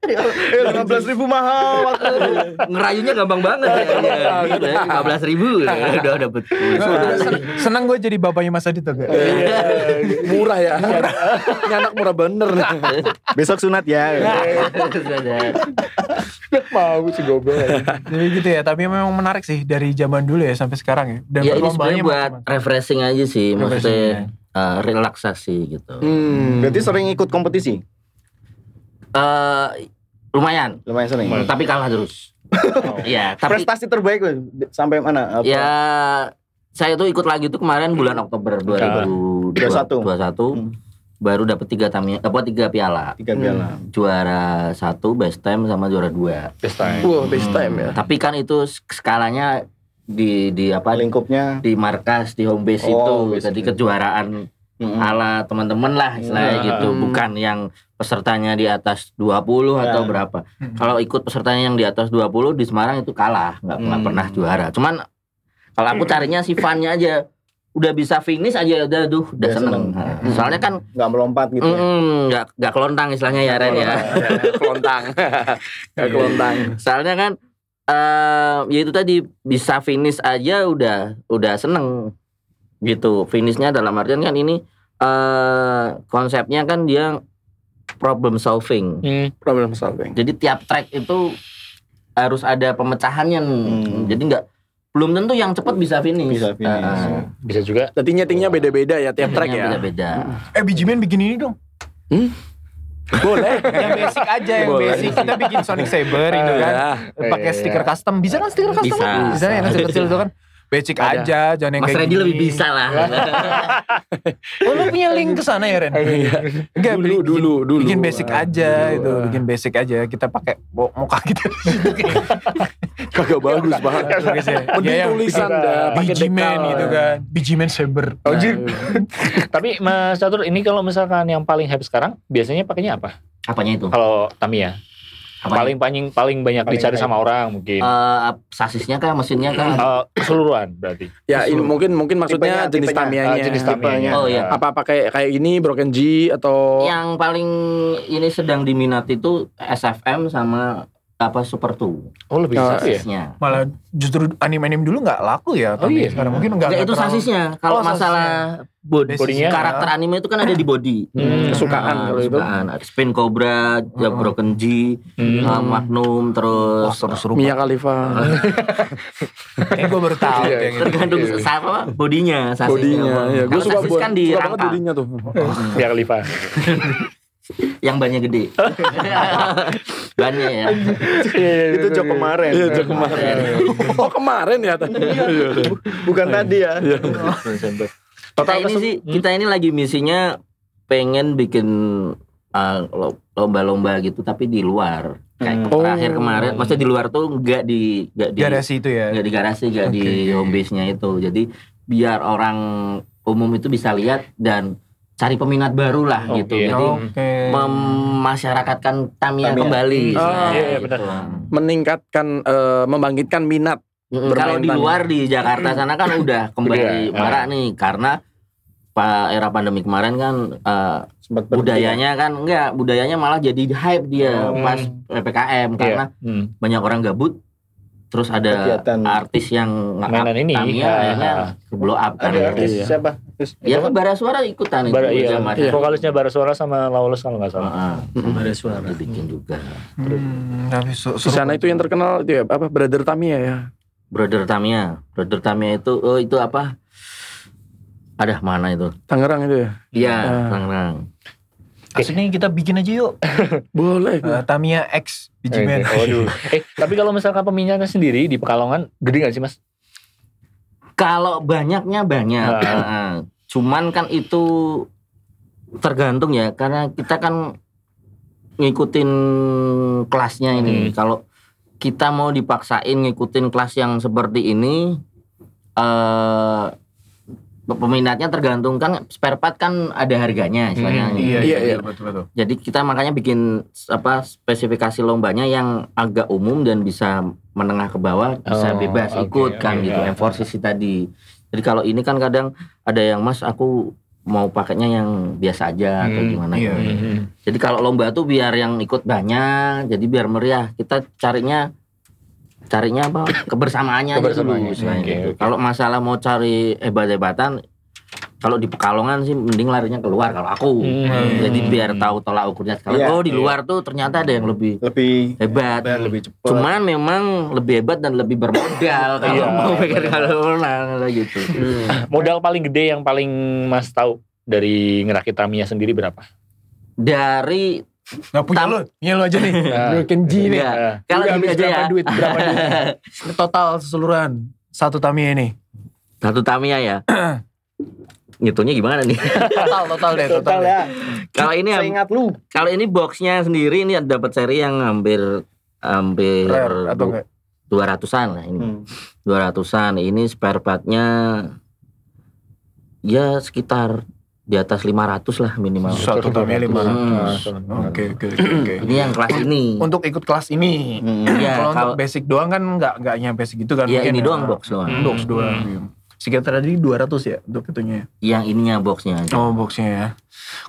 S5: Eh, 15 ribu mahal waktu.
S4: Ngerayunya gampang banget ya. Lima belas ribu udah dapet.
S2: Iya, Senang gue jadi bapaknya Mas Adit tuh
S3: Iya.
S2: gak?
S3: murah ya. Ini anak murah bener.
S5: Besok sunat ya.
S1: Mau sih goblok.
S2: Jadi gitu ya, tapi memang menarik sih dari zaman dulu ya sampai sekarang ya. Dan
S4: Ya ini
S2: perlombaannya
S4: sebenarnya buat
S2: macam-macam.
S4: refreshing aja sih, maksudnya
S2: Refreshing,
S4: eh, relaksasi gitu.
S3: Hmm.
S5: Berarti sering ikut kompetisi?
S4: Eh lumayan,
S5: Lumayan sering.
S4: tapi kalah terus. Iya, tapi
S5: Prestasi terbaik lu sampai mana? Apa?
S4: ya saya tuh ikut lagi tuh kemarin bulan Oktober 2021
S5: Hmm.
S4: baru dapat tiga tamia, dapat tiga piala.
S5: Tiga piala.
S4: Hmm. Juara satu best time sama juara dua.
S1: This time.
S5: Oh,
S3: Wah, best time ya.
S4: Tapi kan itu sk- skalanya di di apa
S5: Lingkupnya
S4: di markas di home base
S5: Oh, home
S4: itu
S5: base
S4: jadi
S5: itu.
S4: kejuaraan Hmm.
S5: Mm-mm.
S4: ala teman-teman lah istilahnya
S1: Hmm.
S4: gitu bukan yang pesertanya di atas 20 atau
S5: Ya.
S4: berapa
S2: Hmm.
S4: kalau ikut pesertanya yang di atas 20 di Semarang itu kalah nggak nggak
S5: Hmm.
S4: pernah juara cuman kalau aku carinya si fun-nya aja udah bisa finish aja udah duh udah
S5: Udah
S4: seneng,
S5: seneng.
S4: Nah, soalnya kan
S5: nggak melompat gitu. ya.
S4: mm, nggak nggak kelontang istilahnya ya Ren ya
S3: Kelontang. Gak kelontang.
S4: soalnya kan eh ya itu tadi bisa finish aja udah udah seneng gitu finishnya dalam artian kan ini eh konsepnya kan dia problem solving
S1: Hmm.
S3: Problem solving.
S4: jadi tiap track itu harus ada pemecahannya nih.
S5: Hmm.
S4: jadi nggak belum tentu yang cepat bisa finish Ah,
S5: Bisa finish.
S1: Bisa juga.
S3: Berarti nyetingnya beda-beda ya tiap track ya.
S4: beda beda
S2: Eh Bijimen bikin ini dong.
S3: Boleh.
S2: Hmm? Yang basic aja, yang
S3: Boleh.
S2: basic. Kita bikin Sonic Saber gitu kan.
S3: Ya.
S2: Pakai
S1: Iya.
S2: stiker custom. Bisa kan stiker custom?
S4: Bisa.
S2: kan? Bisa yang kecil-kecil itu kan. Basic
S3: Ada.
S2: aja, jangan yang
S4: Mas
S2: kayak
S4: Reddy
S2: gini.
S4: lebih bisa lah
S2: Oh lu punya link ke sana ya Ren? Enggak,
S3: Dulu,
S2: bikin-
S3: dulu, dulu.
S2: Bikin basic aja
S3: Dulu.
S2: itu, bikin basic aja. Kita pakai bo- muka kita.
S3: Kagak bagus banget. Mending
S2: Iya, yang
S3: tulisan
S1: bikin-
S3: dah. pakai ya.
S2: Bijimen
S3: dekal.
S2: gitu kan. Oh, Bijimen Saber.
S3: Nah,
S1: Tapi Mas Catur ini kalau misalkan yang paling hype sekarang biasanya pakainya apa?
S4: apanya itu
S1: Kalau Tamiya.
S4: Apanya?
S1: Paling paling paling banyak
S5: Paling
S1: dicari
S5: hype.
S1: sama orang mungkin.
S4: Eh, sasisnya kah mesinnya kah
S1: Eh, keseluruhan berarti.
S3: Ya, ini mungkin mungkin maksudnya
S5: Tipenya,
S3: jenis
S5: tipenya.
S1: Eh,
S3: tamianya.
S1: jenis Tamiya.
S4: Ya, Oh, iya.
S3: apa pakai kayak ini broken G atau
S4: yang paling ini sedang diminati itu SFM sama apa Super 2
S1: Oh, lebih
S3: Oh,
S1: satu ya.
S4: sasisnya.
S2: Nah, Malah justru anime-anime dulu nggak laku ya.
S1: Oh,
S2: Tapi
S1: iya.
S2: sekarang mungkin nggak
S4: Enggak,
S2: nggak
S4: itu
S2: terlalu-
S4: sasisnya. Kalau
S2: Oh,
S4: masalah body,
S1: Bodinya.
S4: karakter anime itu kan ada di body.
S1: Hmm.
S3: kesukaan
S4: Ah,
S3: kalau itu?
S4: kesukaan. Ada Spin Cobra, ya,
S2: Hmm.
S4: Broken G,
S1: Hmm.
S4: ah,
S2: Wah
S4: Magnum, terus
S2: seru-seru
S3: Mia Khalifa?
S2: Kayaknya gue baru tahu gitu.
S1: Iya,
S2: yang itu.
S4: tergantung
S1: Iya.
S4: sa- apa bodinya, sasisnya.
S3: Bodinya, ya. Gue
S4: Kalau
S3: suka,
S4: sasis
S3: buat-
S4: kan
S3: suka banget
S4: dirangka,
S3: bodinya tuh.
S1: Pihak Khalifa.
S4: yang bannya gede. bannya ya.
S5: Itu jok kemarin.
S3: Iya, itu kemarin. Oh kemarin ya? Iya, iya.
S5: Bukan tadi ya.
S1: Hmm.
S4: Kita ini sih, kita ini lagi misinya pengen bikin eh, lo- lomba-lomba gitu tapi di luar. Kayak
S5: Hmm.
S4: terakhir
S1: Oh.
S4: kemarin, maksudnya di luar tuh nggak di nggak di
S2: Garasi itu ya.
S4: nggak di garasi, nggak di
S2: Oke.
S4: home base-nya itu. Jadi biar orang umum itu bisa lihat dan cari peminat baru lah
S1: Oke.
S4: gitu. Jadi
S2: Oke.
S4: memasyarakatkan Tamiya
S5: Tamiya.
S4: kembali.
S1: Hmm.
S4: Nah,
S1: Iya, iya,
S4: gitu.
S1: benar.
S3: meningkatkan eh, membangkitkan minat
S4: Mm,
S3: Bermain
S4: Kalau di
S3: Tamiya.
S4: luar di Jakarta sana kan udah kembali
S1: Udah, ah.
S4: marak nih karena pa- era pandemi kemarin kan eh,
S5: Sempat berhenti.
S4: budayanya kan enggak budayanya malah jadi hype dia
S1: Hmm.
S4: pas eh, PPKM karena
S1: Hmm.
S4: banyak orang gabut terus ada
S5: ya. Kegiatan.
S1: Iya.
S4: artis yang
S1: Mainan ini,
S4: Tamiya
S1: ah.
S4: akhirnya blow up kan
S5: Ada artis
S4: gitu.
S5: siapa? Terus,
S4: Ya kan bara suara ikutan itu
S1: Bara, iya.
S4: zaman.
S1: Vokalisnya Barasuara sama Lawless kalau nggak salah.
S4: Heeh.
S5: Bara Suara.
S4: dibikin juga.
S2: Hmm, tapi su-
S3: di sana
S2: seru.
S3: itu yang terkenal itu ya apa brother Tamiya ya
S4: Brother Tamiya, Brother Tamiya itu oh itu apa? Ada mana itu?
S3: Tangerang itu ya
S4: Iya,
S3: Ah.
S4: Tangerang.
S2: Maksudnya kita bikin aja yuk.
S3: boleh
S2: Eh, Tamiya X biji men.
S1: Eh, waduh. eh, tapi kalau misalkan peminatnya sendiri di Pekalongan gede nggak sih, Mas?
S4: Kalau banyaknya banyak.
S1: Ah.
S4: Heeh. Cuman kan itu tergantung ya karena kita kan ngikutin kelasnya ini. Kalau kita mau dipaksain ngikutin kelas yang seperti ini eh peminatnya tergantung kan spare part kan ada harganya istilahnya.
S1: Hmm,
S4: gitu.
S3: iya, iya.
S2: betul betul.
S4: Jadi kita makanya bikin apa spesifikasi lombanya yang agak umum dan bisa menengah ke bawah,
S1: Oh,
S4: bisa bebas
S1: oke,
S4: ikut kan
S1: oke,
S4: gitu.
S1: iya.
S4: Enforcisi tadi. Jadi kalau ini kan kadang ada yang Mas aku mau pakainya yang biasa aja atau
S1: Hmm,
S4: gimana.
S2: iya.
S4: gitu. Jadi kalau lomba tuh biar yang ikut banyak, jadi biar meriah. Kita carinya carinya apa? Kebersamaannya, aja dulu,
S1: Kebersamaannya,
S4: istilahnya
S1: oke,
S4: gitu.
S1: oke.
S4: Kalau masalah mau cari hebat-hebatan kalau di Pekalongan sih mending larinya keluar kalau aku.
S1: Hmm.
S4: Jadi biar tahu tolak ukurnya sekali.
S5: Iya,
S4: oh, di
S1: iya.
S4: luar tuh ternyata ada yang lebih
S5: lebih
S4: hebat.
S5: hebat, lebih cepat.
S4: Cuman memang lebih hebat dan lebih bermodal kalau
S1: Iya,
S4: mau pikir
S1: benar.
S4: kalau menang gitu.
S1: Modal paling gede yang paling Mas tahu dari ngerakit Tamiya sendiri berapa?
S4: Dari
S2: Gak punya
S4: Tam-
S2: lu, punya lu aja nih. Lu Kenji nih.
S4: Iya.
S1: Eh,
S4: kalau
S2: Udah
S4: gini
S2: habis
S4: aja
S2: berapa
S4: ya.
S2: duit, berapa duit. Total keseluruhan satu Tamiya ini.
S4: Satu Tamiya ya. Ngitungnya gimana nih?
S2: Total total deh, Eh, total.
S5: total
S2: deh.
S5: ya.
S4: kalau ini
S5: Saya ingat lu.
S4: kalau ini boxnya sendiri ini dapat seri yang hampir hampir
S2: Rare atau enggak?
S4: dua ratusan lah ini. 200-an. Ini spare part-nya ya sekitar di atas 500 lah minimal.
S2: Satu Tamiya lima
S4: Hmm.
S2: ratus. Oke oke oke, oke.
S4: Ini yang kelas ini.
S2: Untuk ikut kelas ini.
S4: Iya,
S2: Hmm. kalau
S4: kalau
S2: untuk basic doang kan nggak nggak nyampe segitu kan?
S4: ya
S2: mungkin
S4: ini doang box doang.
S2: Box doang. iya. Sekitar tadi 200 ya untuk itunya. ya?
S4: Yang ininya boxnya.
S2: Oh boxnya ya.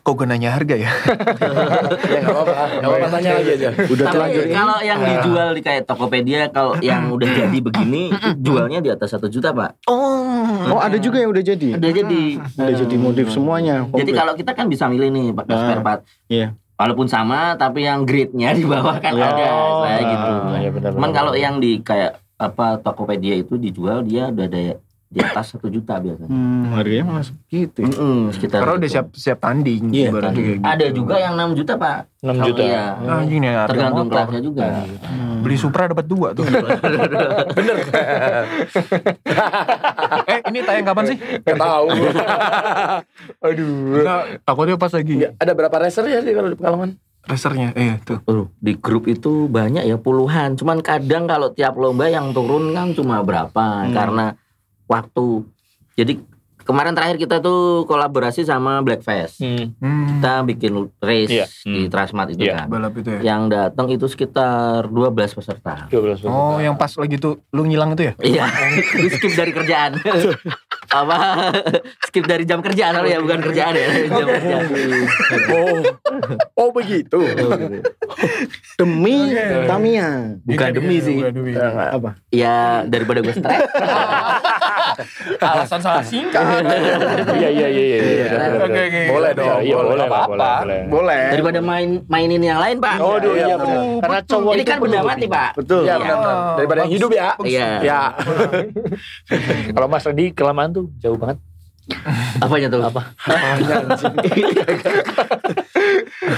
S2: Kok gue nanya harga ya?
S3: ya nggak apa-apa nggak apa-apa tanya lagi aja udah terlanjur
S4: Tapi kalau yang dijual di kayak Tokopedia kalau yang udah jadi begini itu jualnya di atas satu juta, Pak.
S2: Oh.
S5: Oh ada juga yang udah jadi.
S4: Udah jadi.
S5: Udah jadi
S4: Hmm.
S5: modif semuanya.
S4: Jadi
S5: komplit.
S4: kalau kita kan bisa milih nih Pak
S5: Ah,
S4: spare part.
S5: iya.
S4: Walaupun sama tapi yang grade-nya di bawah kan
S5: Iya.
S4: ada saya
S1: ah,
S4: gitu.
S1: iya benar,
S4: Cuman
S1: benar.
S4: kalau yang di kayak apa Tokopedia itu dijual dia udah ada di atas satu juta biasanya.
S5: Hmm, harganya malah segitu ya.
S4: Mm-mm, sekitar
S2: Karena udah
S4: gitu.
S2: siap siap tanding.
S5: Iya,
S2: ibaratnya
S4: Tadi
S2: kayak gitu.
S4: Ada juga yang 6 juta pak.
S1: 6
S4: Kalau
S1: juta.
S4: iya.
S1: Ah,
S2: Nah, gini harga
S4: Tergantung
S2: motor.
S4: kelasnya juga.
S1: Iya.
S2: Beli Supra dapat dua tuh.
S3: bener
S2: eh ini tayang kapan sih?
S3: nggak tahu
S1: Aduh.
S2: Nah, takutnya pas lagi
S3: ada berapa racer ya di kalau di Pekalongan
S2: racernya. Eh tuh.
S4: Aduh, di grup itu banyak ya puluhan. Cuman kadang kalau tiap lomba yang turun kan cuma berapa karena waktu. Jadi kemarin terakhir kita tuh kolaborasi sama Blackfest.
S1: Hmm.
S2: Hmm,
S4: Kita bikin race
S1: Iya.
S4: di
S1: Hmm.
S4: Transmart itu
S1: Iya.
S4: kan.
S2: balap itu ya.
S4: Yang datang itu sekitar 12 peserta.
S1: 12 juta.
S2: Oh, yang pas lagi tuh lu ngilang itu ya?
S4: Iya, di skip dari kerjaan. apa skip dari jam kerjaan tapi ya bukan kerjaan ya dari jam kerjaan.
S3: oh oh begitu
S5: Demi Tamiya. Eh,
S4: bukan demi sih
S2: Bukan demi.
S5: Apa?
S4: ya daripada gue stres
S2: Alasan salah singkat.
S1: Iya iya iya iya. iya, benar, benar,
S2: Oke,
S1: benar.
S2: oke.
S3: boleh dong
S1: Iya,
S3: boleh
S1: boleh,
S3: nggak
S1: Pak,
S3: apa-apa
S1: boleh, boleh.
S5: Boleh.
S4: daripada main mainin yang lain pak
S1: Oh, aduh,
S3: Iya,
S1: iya,
S3: iya,
S1: benar.
S2: betul,
S1: Karena cowok
S4: ini
S1: itu
S4: kan benda
S1: perlu
S4: mati pak
S5: Betul.
S3: Iya, benar-benar. daripada yang hidup ya
S4: iya
S3: ya
S1: ini. Kalau Mas Randy kelamaan tuh jauh banget.
S4: apanya tuh apa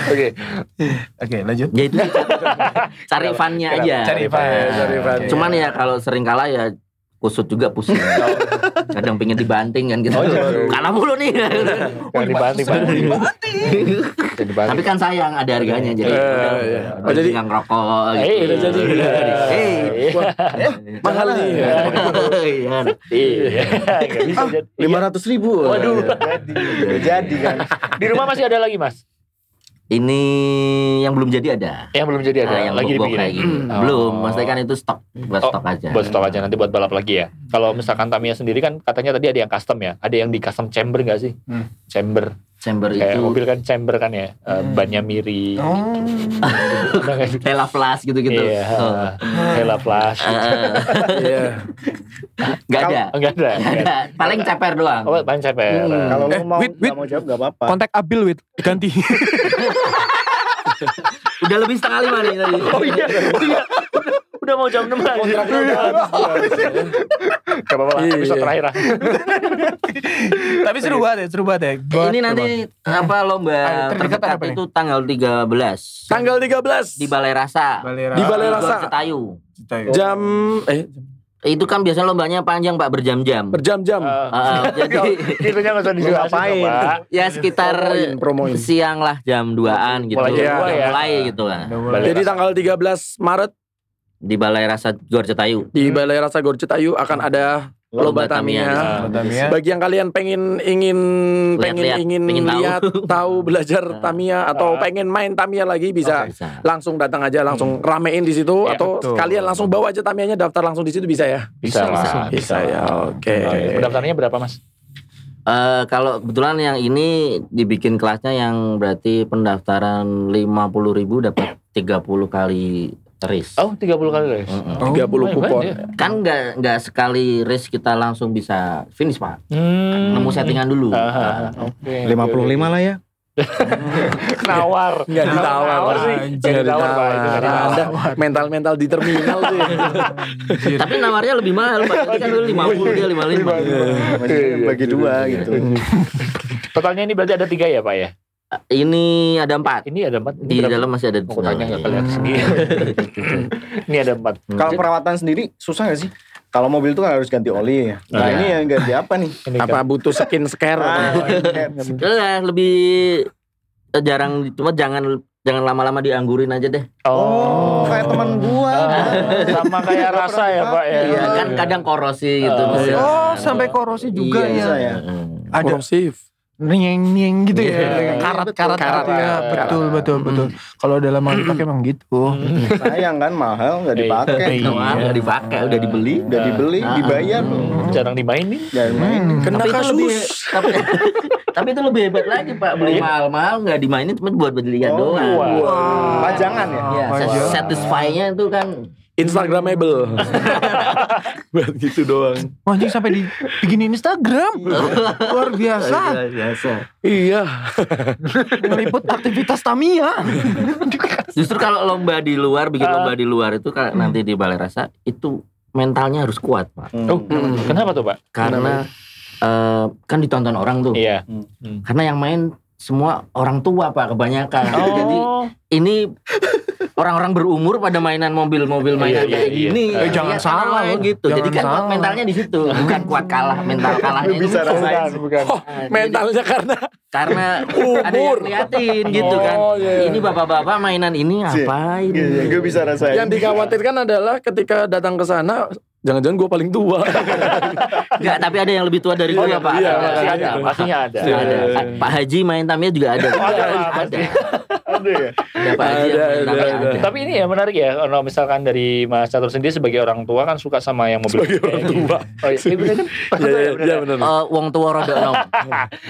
S1: Oke.
S2: Oke, lanjut.
S4: ya itu cari funnya aja Nah,
S2: Cari fans.
S3: cari fans.
S1: Iya.
S4: cuman ya kalau sering kalah ya kusut juga pusing. Kadang pengen dibanting kan gitu.
S1: Oh, iya.
S4: Kalah mulu nih.
S1: Jangan dibanting, Pak. Jangan dibanting.
S4: Tapi kan sayang ada harganya jadi.
S3: Iya,
S4: udah-
S3: iya.
S4: udah
S3: Oh, jadi-
S4: nggak ngerokok
S1: Eh,
S4: gitu.
S1: udah jadi.
S4: Eh,
S1: Iya.
S3: mahal nih.
S4: Iya.
S1: Iya. Nggak bisa jadi.
S3: Lima ratus ribu.
S1: Waduh.
S5: Nggak jadi kan.
S1: Di rumah masih ada lagi, Mas?
S4: Ini yang belum jadi ada.
S1: Yang belum jadi ada.
S4: Nah, yang
S1: lagi
S4: bobok
S1: dipikirin.
S4: kayak gini.
S1: Oh.
S4: Belum, maksudnya kan itu stok buat
S1: Oh,
S4: stok aja.
S2: Iya.
S1: buat stok aja nanti buat balap lagi ya.
S2: Hmm.
S1: Kalau misalkan Tamiya sendiri kan katanya tadi ada yang custom ya, ada yang di custom chamber nggak sih?
S2: Hmm.
S1: Chamber
S4: Chamber
S1: kayak
S4: itu
S1: mobil kan chamber kan ya, eh,
S2: Hmm.
S1: bannya miri.
S2: Oh.
S1: Udah nggak sih?
S4: Tela Plus gitu-gitu.
S1: Iya,
S4: Oh.
S1: Hella Flash.
S4: Eh, eh,
S3: Iya.
S4: Nggak ada.
S1: Enggak ada.
S4: Nggak ada. Paling ceper doang.
S1: Oh, ban ceper.
S4: Hmm.
S5: Kalau
S2: Eh,
S5: lu mau
S2: wait, wait.
S5: nggak mau jawab nggak apa-apa.
S2: Kontak Abil with ganti.
S4: Udah lebih setengah lima nih tadi.
S1: Oh iya, iya. Udah- Udah mau jam 6 lagi. Gak apa-apa lah,
S3: Iya.
S1: episode terakhir lah.
S4: Hmm.
S2: Tapi seru banget ya, seru banget ya. Buat-
S4: Ini nanti apa lomba
S2: Ah, terdekat
S4: terdekat,
S2: apa nih?
S4: itu tanggal 13
S3: Tanggal 13
S4: di Balai Rasa.
S2: Balera.
S3: Di Balai
S4: Gor
S3: Rasa.
S4: Cetayu.
S3: jam eh
S4: Itu kan biasanya lombanya panjang Pak berjam-jam.
S3: berjam-jam.
S1: Eh,
S4: Ah, jadi
S1: Itunya nggak usah dijelasin
S5: ngapain?
S1: dong, Pak.
S4: ya sekitar
S3: Promoin, promoin.
S4: siang lah jam 2-an gitu.
S1: Mulai
S3: jam
S4: Udah
S1: dua ya.
S4: mulai gitu kan.
S1: Balai
S3: Jadi
S1: Rasa.
S3: tanggal 13 Maret
S4: Di Balai Rasa Gor Cetayu.
S3: di Balai Rasa Gor Citayu akan ada lomba Tamiya.
S1: Ah,
S2: Tamiya.
S3: Bagi yang kalian pengen ingin pengen
S4: Lihat-lihat,
S3: ingin
S4: pengen tahu.
S3: lihat tahu belajar
S4: Nah.
S3: Tamiya atau
S1: Ah.
S3: pengen main Tamiya lagi bisa
S4: Bisa.
S3: langsung datang aja langsung ramein di situ
S1: Ya,
S3: atau
S2: betul.
S3: kalian langsung bawa aja Tamiyanya daftar langsung di situ bisa ya?
S1: Bisa
S4: bisa. Iya,
S1: lah.
S3: Bisa ya. Oke.
S1: Oke. Pendaftarannya berapa, Mas?
S4: Eh, kalau kebetulan yang ini dibikin kelasnya yang berarti pendaftaran 50.000 dapat 30 kali race.
S1: Oh, 30 kali guys.
S4: Mm-mm.
S2: Oh.
S1: lumayan
S3: 30 kupon.
S1: banyak
S4: Kan nggak nggak sekali race kita langsung bisa finish Pak.
S1: Hmm.
S4: Nemu settingan dulu.
S1: Ah, Oke.
S5: 55 lah ya.
S1: nawar.
S3: Nggak ditawar,
S1: Nawar sih.
S3: Nggak
S1: Nggak ditawar, Pak. Itu nggak
S3: ditawar.
S1: ditawar.
S3: Anda mental-mental di terminal tuh.
S4: Tapi nawarnya lebih mahal Pak. Ini kan dulu 50 dia 55.
S5: Eh, Maksudnya bagi dua gitu.
S1: Totalnya ini berarti ada tiga ya, Pak ya?
S4: Ini ada empat.
S1: Ini ada empat. ini
S4: Di
S1: berapa?
S4: dalam Hmm. masih ada
S1: Aku tanya nggak kelihatan sendiri. ini ada empat.
S4: Hmm.
S5: Kalau perawatan sendiri susah gak sih? Kalau mobil itu kan harus ganti oli ya. Nah,
S4: Iya.
S5: ini yang ganti apa nih?
S1: Ini kan.
S3: Apa butuh skin scare?
S5: Ah,
S4: Eh, lebih eh, jarang cuma jangan jangan lama-lama dianggurin aja deh.
S5: oh, kayak teman gua.
S1: Ah, sama kayak rasa ya, Pak ya.
S5: Iya.
S4: Ya, kan kadang korosi gitu.
S1: Oh,
S4: mesin.
S2: Oh, sampai korosi juga
S5: Iya,
S2: ya.
S5: iya.
S4: Mm.
S2: Ada
S3: Korosif.
S2: nieng-nieng gitu
S1: Iya.
S2: ya. Karat-karat
S1: Karat.
S2: gitu ya. Betul, betul, betul. Kalau dalam mau dipakai emang gitu.
S5: Sayang kan mahal nggak dipakai.
S1: Iya.
S4: Wah, nggak dipakai, udah dibeli.
S5: Udah dibeli, dibayar.
S1: Hmm. Jarang dimainin.
S5: Dan
S2: Mm.
S5: main.
S2: Hmm.
S3: Kena
S4: Tapi itu lebih
S3: kasus.
S4: tapi, tapi itu lebih hebat lagi Pak, beli mahal-mahal nggak dimainin cuma buat belian
S5: Oh,
S4: doang.
S1: Wah.
S5: Pajangan ya?
S4: Iya,
S2: Wajar.
S4: satisfy-nya itu kan
S3: Instagramable. Buat gitu doang.
S2: Wah, Anjing sampai di bikin Instagram.
S5: Iya.
S2: Luar biasa.
S4: biasa.
S3: Iya.
S2: Meliput aktivitas Tamiya.
S4: Justru kalau lomba di luar, bikin
S1: Ah.
S4: lomba di luar itu kalau nanti di Balai Rasa itu mentalnya harus kuat, Pak.
S5: Hmm.
S1: Oh,
S2: Mm.
S1: kenapa tuh, Pak?
S4: Karena eh, kan ditonton orang tuh.
S1: Iya.
S4: Karena yang main semua orang tua, Pak, kebanyakan. Jadi
S1: Oh,
S4: ini orang-orang berumur pada mainan mobil-mobil
S1: Iya,
S4: mainan
S1: iya,
S4: kayak
S1: iya.
S4: gini.
S1: Eh,
S4: Iya,
S2: jangan
S4: karena
S2: salah
S4: main
S2: loh.
S4: gitu. Jadi
S2: Jangan
S4: kan kuat
S2: salah.
S4: mentalnya di situ, bukan kuat kalah, mental kalahnya itu.
S5: Bisa
S4: bukan.
S5: rasain.
S3: Oh, mentalnya karena
S4: Karena ada yang
S3: Umur.
S4: liatin gitu kan.
S3: Oh, iya, iya.
S4: Ini bapak-bapak mainan ini apain?
S5: Iya, iya, gue bisa rasain.
S3: yang dikhawatirkan adalah ketika datang ke sana jangan-jangan gue paling tua.
S4: Enggak, tapi ada yang lebih tua dari
S3: Oh,
S4: gue, Pak.
S3: iya,
S4: Ada,
S1: pasti ada,
S4: ada.
S1: pastinya ada.
S3: Iya.
S4: Ada. Pak Haji main tamnya juga ada.
S1: Oh, Ada,
S4: ada.
S1: pasti. Ada ya?
S4: Ada Pak Haji yang
S3: Ada,
S4: main tamnya
S3: ada,
S4: ada.
S1: Tapi ini ya menarik ya, kalau misalkan dari Mas Catur sendiri sebagai orang tua kan suka sama yang mobil.
S3: Sebagai orang tua.
S1: Oh iya, Ini bener kan?
S3: Iya, iya,
S1: Bener
S3: iya
S1: kan?
S3: benar.
S4: Eh, wong tua roda enom.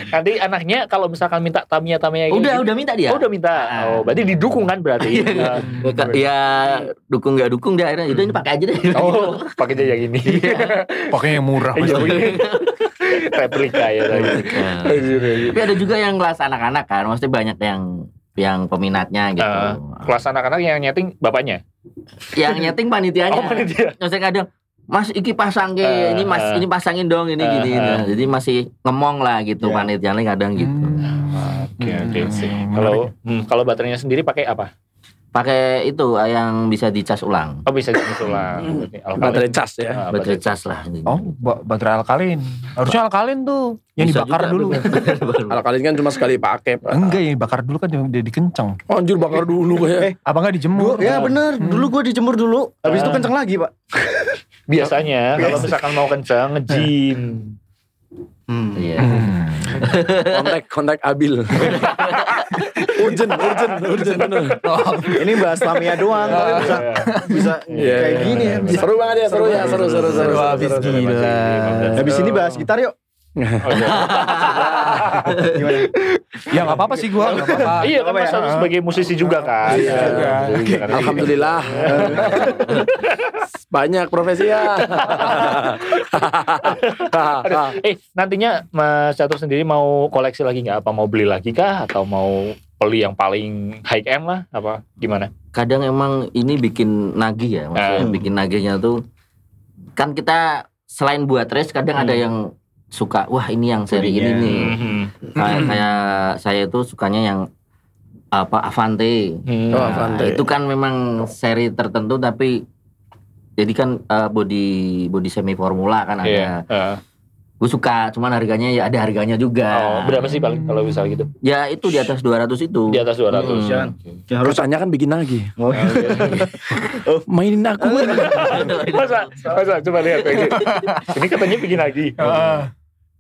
S1: Nanti anaknya kalau misalkan minta Tamiya Tamiya kayak
S4: Udah,
S1: gitu.
S4: udah iya. minta dia.
S1: Oh, udah minta. Oh, berarti didukung kan berarti. Nah,
S4: Ya, Kak, ya dukung nggak dukung dia akhirnya itu ini pakai aja deh.
S1: Oh, pakai jaya gini.
S2: Pakai yang murah.
S1: Iya, iya. Replika ya.
S4: Iya.
S1: tadi.
S3: iya,
S4: Tapi ada juga yang kelas anak-anak kan, maksudnya banyak yang yang peminatnya gitu.
S1: Eh, Kelas anak-anak yang nyeting bapaknya.
S4: yang nyeting panitianya.
S1: Oh, panitia.
S4: Maksudnya kadang Mas iki pasang ke,
S1: Eh,
S4: ini mas
S1: eh.
S4: ini pasangin dong ini
S1: Eh,
S4: gini.
S1: eh.
S4: Nah, jadi masih ngemong lah gitu
S5: Iya.
S4: panitianya kadang gitu.
S1: Oke, oke.
S2: Hmm,
S1: Kalau hmm, kalau baterainya sendiri pakai apa?
S4: pakai itu eh, yang bisa dicas ulang
S1: Oh bisa jadi tulang.
S3: Baterai cas
S1: Ah,
S3: ya.
S4: baterai cas lah
S2: Oh, ba- baterai alkalin. Harusnya alkalin tuh. Yang
S4: Bisa
S2: dibakar
S4: juga,
S2: dulu.
S4: bener.
S3: Kalau kalian kan cuma sekali pakai. Pak.
S2: Enggak, yang dibakar dulu kan jadi kencang.
S3: Oh, anjir bakar dulu ya.
S5: Eh,
S2: Apa enggak dijemur?
S5: ya bener, dulu gue dijemur dulu, habis itu kenceng lagi pak.
S1: Biasanya kalau misalkan mau kencang nge-gym.
S4: Iya.
S2: Hmm.
S3: Kontak kontak Abil. urgent, urgent, urgent bener.
S5: Ini bahas Lamia doang, tapi bisa bisa
S3: Iya,
S5: kayak
S3: iya,
S5: gini ya.
S1: Ah. iya,
S5: bisa.
S3: Seru banget ya, seru ya, seru seru seru.
S2: Seru abis
S3: seru, seru.
S2: gila.
S5: Habis ini bahas gitar yuk.
S1: Oh, iya.
S5: Gimana?
S2: Ya enggak apa-apa sih gua, enggak apa-apa.
S1: Iya kan
S5: Apa
S1: Mas
S5: ya?
S1: harus sebagai musisi juga kan.
S3: Iya.
S1: Iya.
S3: Oke.
S1: Karena-
S3: Alhamdulillah. Banyak profesi ya.
S1: Eh nantinya Mas Catur sendiri mau koleksi lagi nggak? Apa mau beli lagi kah? Atau mau beli yang paling high end lah? Apa gimana?
S4: kadang emang ini bikin nagih ya
S1: Ah.
S4: maksudnya
S5: Hmm.
S4: bikin nagihnya tuh kan kita selain buat race kadang
S1: Hmm.
S4: ada yang suka wah ini yang seri ini
S5: Bodinya.
S4: nih
S1: Mhm.
S4: kayak kayak saya itu sukanya yang apa Avante
S1: Hmm.
S3: Oh, Avante.
S4: Nah, itu kan memang seri tertentu tapi jadi kan eh, body body semi formula kan ada
S1: Iya. Eh,
S4: gue suka cuman harganya ya ada harganya
S1: oh,
S4: juga
S1: berapa sih paling kalau bisa gitu?
S4: ya itu di atas 200 itu
S1: Di atas 200.
S5: Jangan. Ya, harus
S3: Harusnya kan bikin lagi.
S5: Oh, iya.
S3: Mainin aku.
S1: Masa, masa coba lihat ini. Ini katanya bikin lagi.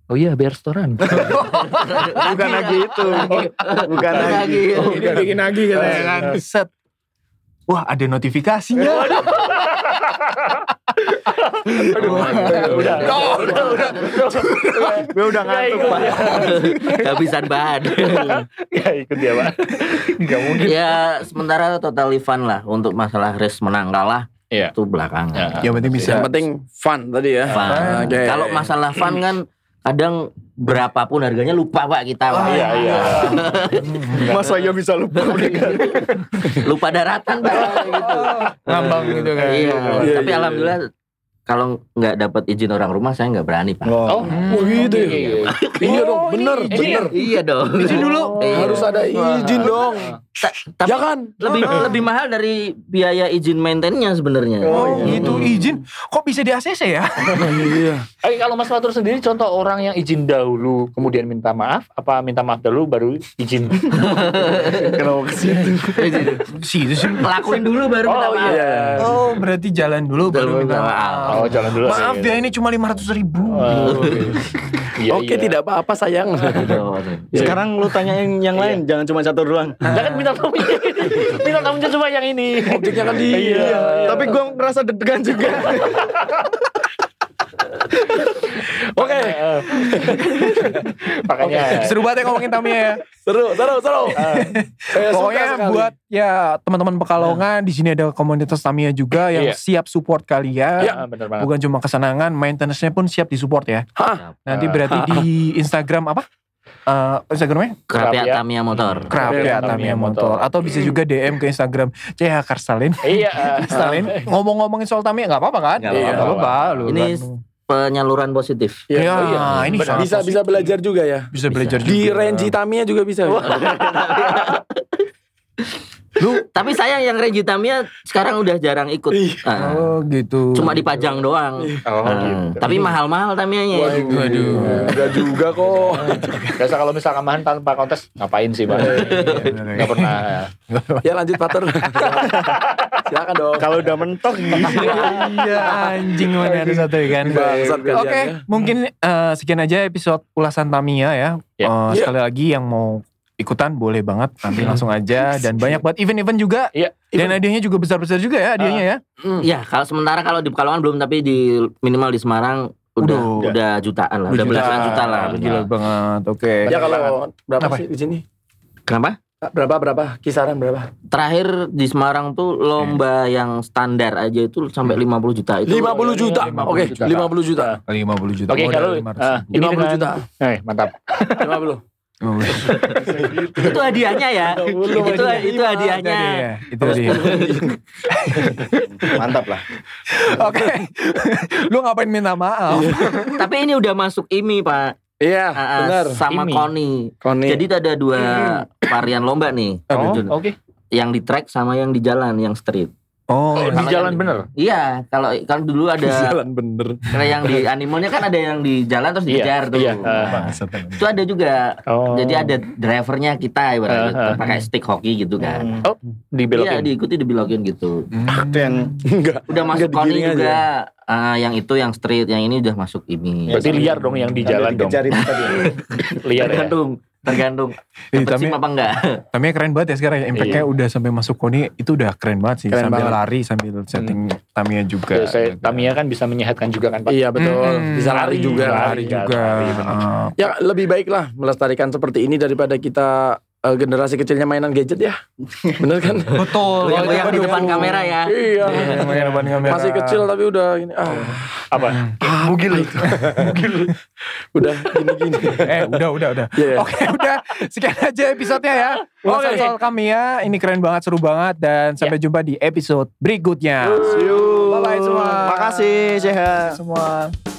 S1: Oh iya, biar setoran.
S5: bukan lagi itu, bukan lagi.
S1: Oh,
S5: Oh, iya,
S2: Ini bikin lagi katanya kan. Set. Wah, ada notifikasinya.
S1: udah, udah, udah, udah.
S5: Gue udah ngantuk pak.
S4: kehabisan bahan
S1: Gak Ya, ikut dia, Pak. Gak mungkin.
S4: ya sementara total fun lah untuk masalah race menang kalah
S1: Iya.
S4: itu belakangan.
S2: Yang penting Ya, bisa.
S3: Yang penting fun tadi ya.
S4: Fun.
S3: Oke.
S4: Kalau masalah fun kan kadang berapapun harganya lupa pak kita pak.
S1: Iya, iya.
S5: Masa ya bisa lupa
S4: Lupa daratan pak gitu.
S2: Ngambang gitu kan.
S4: Iya.
S3: Iya,
S4: Tapi
S3: iya,
S4: alhamdulillah kalau nggak dapat izin orang rumah saya nggak berani pak.
S5: Oh,
S3: Oh gitu ya. Iya dong, bener,
S1: ini-
S3: bener.
S4: Iya dong.
S2: Izin dulu.
S4: Iya.
S3: Oh. Harus ada izin dong.
S4: Ta- tapi
S3: Ya kan?
S4: lebih lebih mahal dari biaya izin maintainnya sebenarnya.
S2: Oh, gitu
S4: Hmm.
S2: izin. Kok bisa di ACC ya?
S3: Iya.
S1: Eh, kalau Mas Fatur sendiri contoh orang yang izin dahulu kemudian minta maaf apa minta maaf dahulu baru izin.
S5: kenapa ke situ?
S2: Si itu sih.
S4: Lakuin dulu baru minta maaf.
S3: iya.
S2: Oh, berarti jalan dulu baru minta maaf.
S1: Oh, jalan dulu.
S2: Maaf ya ini cuma 500 ribu.
S1: Oh, oke. Iya,
S3: Oke,
S1: iya.
S3: tidak apa-apa sayang.
S4: Gitu. Aduh.
S5: Sekarang lu tanya yang, yang lain, jangan cuma satu doang.
S1: Jangan minta tamu ini. minta tamunya cuma yang ini.
S3: Objeknya kan dia.
S1: Iya.
S5: Tapi gue ngerasa deg-degan juga.
S3: Oke,
S1: Eh, Makanya. eh.
S2: Seru banget ya ngomongin Tamiya ya.
S3: seru, seru, seru. Saya suka
S2: Pokoknya
S3: sekali.
S2: buat ya teman-teman Pekalongan di sini ada komunitas Tamiya juga yang
S1: Iya.
S2: siap support
S1: Ya,
S2: kalian.
S1: bener banget.
S2: Bukan cuma kesenangan, maintenance-nya pun siap disupport ya.
S3: Hah?
S2: Nanti berarti di Instagram apa? Eh, Instagramnya
S4: Kerapiak
S1: Kerapiak.
S4: Tamiya motor.
S2: Kerap ya Tamiya Motor atau bisa juga DM ke Instagram CH Karsalin
S1: Iya.
S2: Stalin ngomong-ngomongin soal Tamiya nggak apa-apa kan?
S4: Nggak
S2: Iya,
S4: apa-apa.
S2: Nggak apa-apa lu
S4: Ini
S2: kan.
S4: penyaluran positif.
S3: Iya,
S2: Ya,
S3: oh iya.
S2: ini
S1: Benar.
S2: sangat
S3: Bisa bisa belajar juga ya.
S2: bisa belajar
S3: Di
S2: juga.
S3: Renji Tamiya juga bisa.
S4: Tapi sayang yang Renji Tamiya sekarang udah jarang ikut.
S3: Iya.
S4: Ah,
S2: Oh gitu.
S4: Cuma dipajang doang.
S1: Oh,
S4: Ah,
S1: gitu.
S4: Tapi ya. mahal-mahal Tamiyanya.
S2: Waduh.
S3: Enggak juga kok.
S1: Biasa kalau misalkan mahan tanpa kontes ngapain sih, Pak? Enggak pernah.
S3: Ya lanjut Pater. Silakan dong.
S5: Kalau udah mentok
S2: Iya anjing mana ada satu ikan.
S3: Bangsat
S2: Oke,
S3: kalian ya.
S2: mungkin eh, sekian aja episode ulasan Tamiya ya.
S1: Ya.
S2: Eh,
S3: Ya.
S2: Sekali lagi yang mau ikutan boleh banget nanti langsung aja dan banyak buat event-event juga.
S1: Iya.
S2: Dan hadiahnya juga besar-besar juga ya hadiahnya ya.
S3: Hmm.
S4: Ya, kalau sementara kalau di Pekalongan belum tapi di minimal di Semarang udah
S2: Udah.
S4: udah, jutaan lah, Ah, udah
S2: Jutaan.
S4: belasan juta lah.
S2: Gila banget. Oke.
S3: Ya kalau berapa
S2: Apa?
S3: sih di sini? Ah,
S4: Kenapa?
S3: Berapa berapa? Kisaran berapa?
S4: Terakhir di Semarang tuh lomba yang standar aja itu sampai 50 juta itu.
S3: 50 juta. Oke,
S1: 50 juta.
S3: 50
S2: Iya. 50
S3: juta.
S2: juta.
S1: Oke,
S2: modal
S1: kalau
S2: 500
S1: eh, ini
S3: 50
S1: dengan-
S3: juta.
S1: Eh, mantap.
S3: 50.
S2: Oh,
S4: Itu hadiahnya ya.
S1: Gitu
S4: itu itu
S2: Iya, itu
S4: hadiahnya.
S2: dia. Itu dia.
S5: Mantap lah.
S2: Oke. Iya. Lu ngapain minta maaf?
S4: Tapi ini udah masuk IMI, Pak.
S3: Iya,
S4: Ah, ah,
S3: benar.
S4: Sama
S1: IMI.
S4: Koni.
S5: Iya.
S3: Koni.
S4: Jadi itu ada dua varian lomba nih.
S1: Oh,
S4: Jun.
S1: oke.
S4: yang di track sama yang di jalan yang street.
S2: Oh,
S1: Oh,
S2: ini-
S1: di jalan bener.
S4: Iya, kalau kan dulu ada
S3: Jalan bener.
S4: karena yang di animalnya kan ada yang di jalan terus
S1: Iya,
S4: dikejar tuh.
S1: iya.
S2: Bangsat emang.
S4: Itu ada juga.
S1: Oh.
S4: Jadi ada drivernya kita ibaratnya
S1: Ah, ah.
S4: pakai stick hoki gitu
S5: Hmm.
S4: kan.
S1: Oh,
S4: Iya,
S1: dibelokin.
S4: diikuti dibelokin gitu.
S2: Hmm.
S5: Itu yang
S3: Enggak.
S4: Udah masuk
S3: Enggak
S4: koni
S3: digiring aja. ya?
S4: juga. ah, yang itu yang street, yang ini udah masuk ini.
S1: Berarti liar dong yang di jalan dong.
S5: dikejar itu tadi.
S1: Liar ya.
S4: tergantung, tergantung.
S2: Ih,
S4: Dapet
S2: tapi-
S4: SIM apa enggak?
S2: Tapi keren banget ya sekarang ya. Impact-nya udah sampai masuk koni itu udah keren banget sih.
S5: Keren
S2: sambil
S5: banget.
S2: lari sambil setting Tamiya juga.
S1: Ya, saya, Tamiya kan bisa menyehatkan juga kan Pak.
S3: Iya betul.
S2: Mm-mm.
S3: Bisa lari juga.
S2: Lari
S1: Lari
S2: juga.
S1: lari, bener.
S2: Ah,
S3: Ya lebih baiklah melestarikan seperti ini daripada kita eh, generasi kecilnya mainan gadget ya. Bener kan?
S2: Betul.
S4: Goyang-goyang
S3: Waduh.
S4: di depan kamera ya.
S3: iya.
S2: Goyang-goyang depan kamera.
S3: Masih kecil tapi udah gini. Ah,
S1: Apa?
S2: Bugil.
S3: udah gini-gini.
S2: eh, udah, udah, udah.
S3: Iya, iya.
S2: Oke, udah. Sekian aja episodenya ya.
S1: Oke.
S2: Ulasan soal Kamiya. Ini keren banget, seru banget. Dan sampai jumpa di episode berikutnya.
S5: See you.
S2: Bye-bye semua.
S5: Makasih, sehat.
S2: Semua.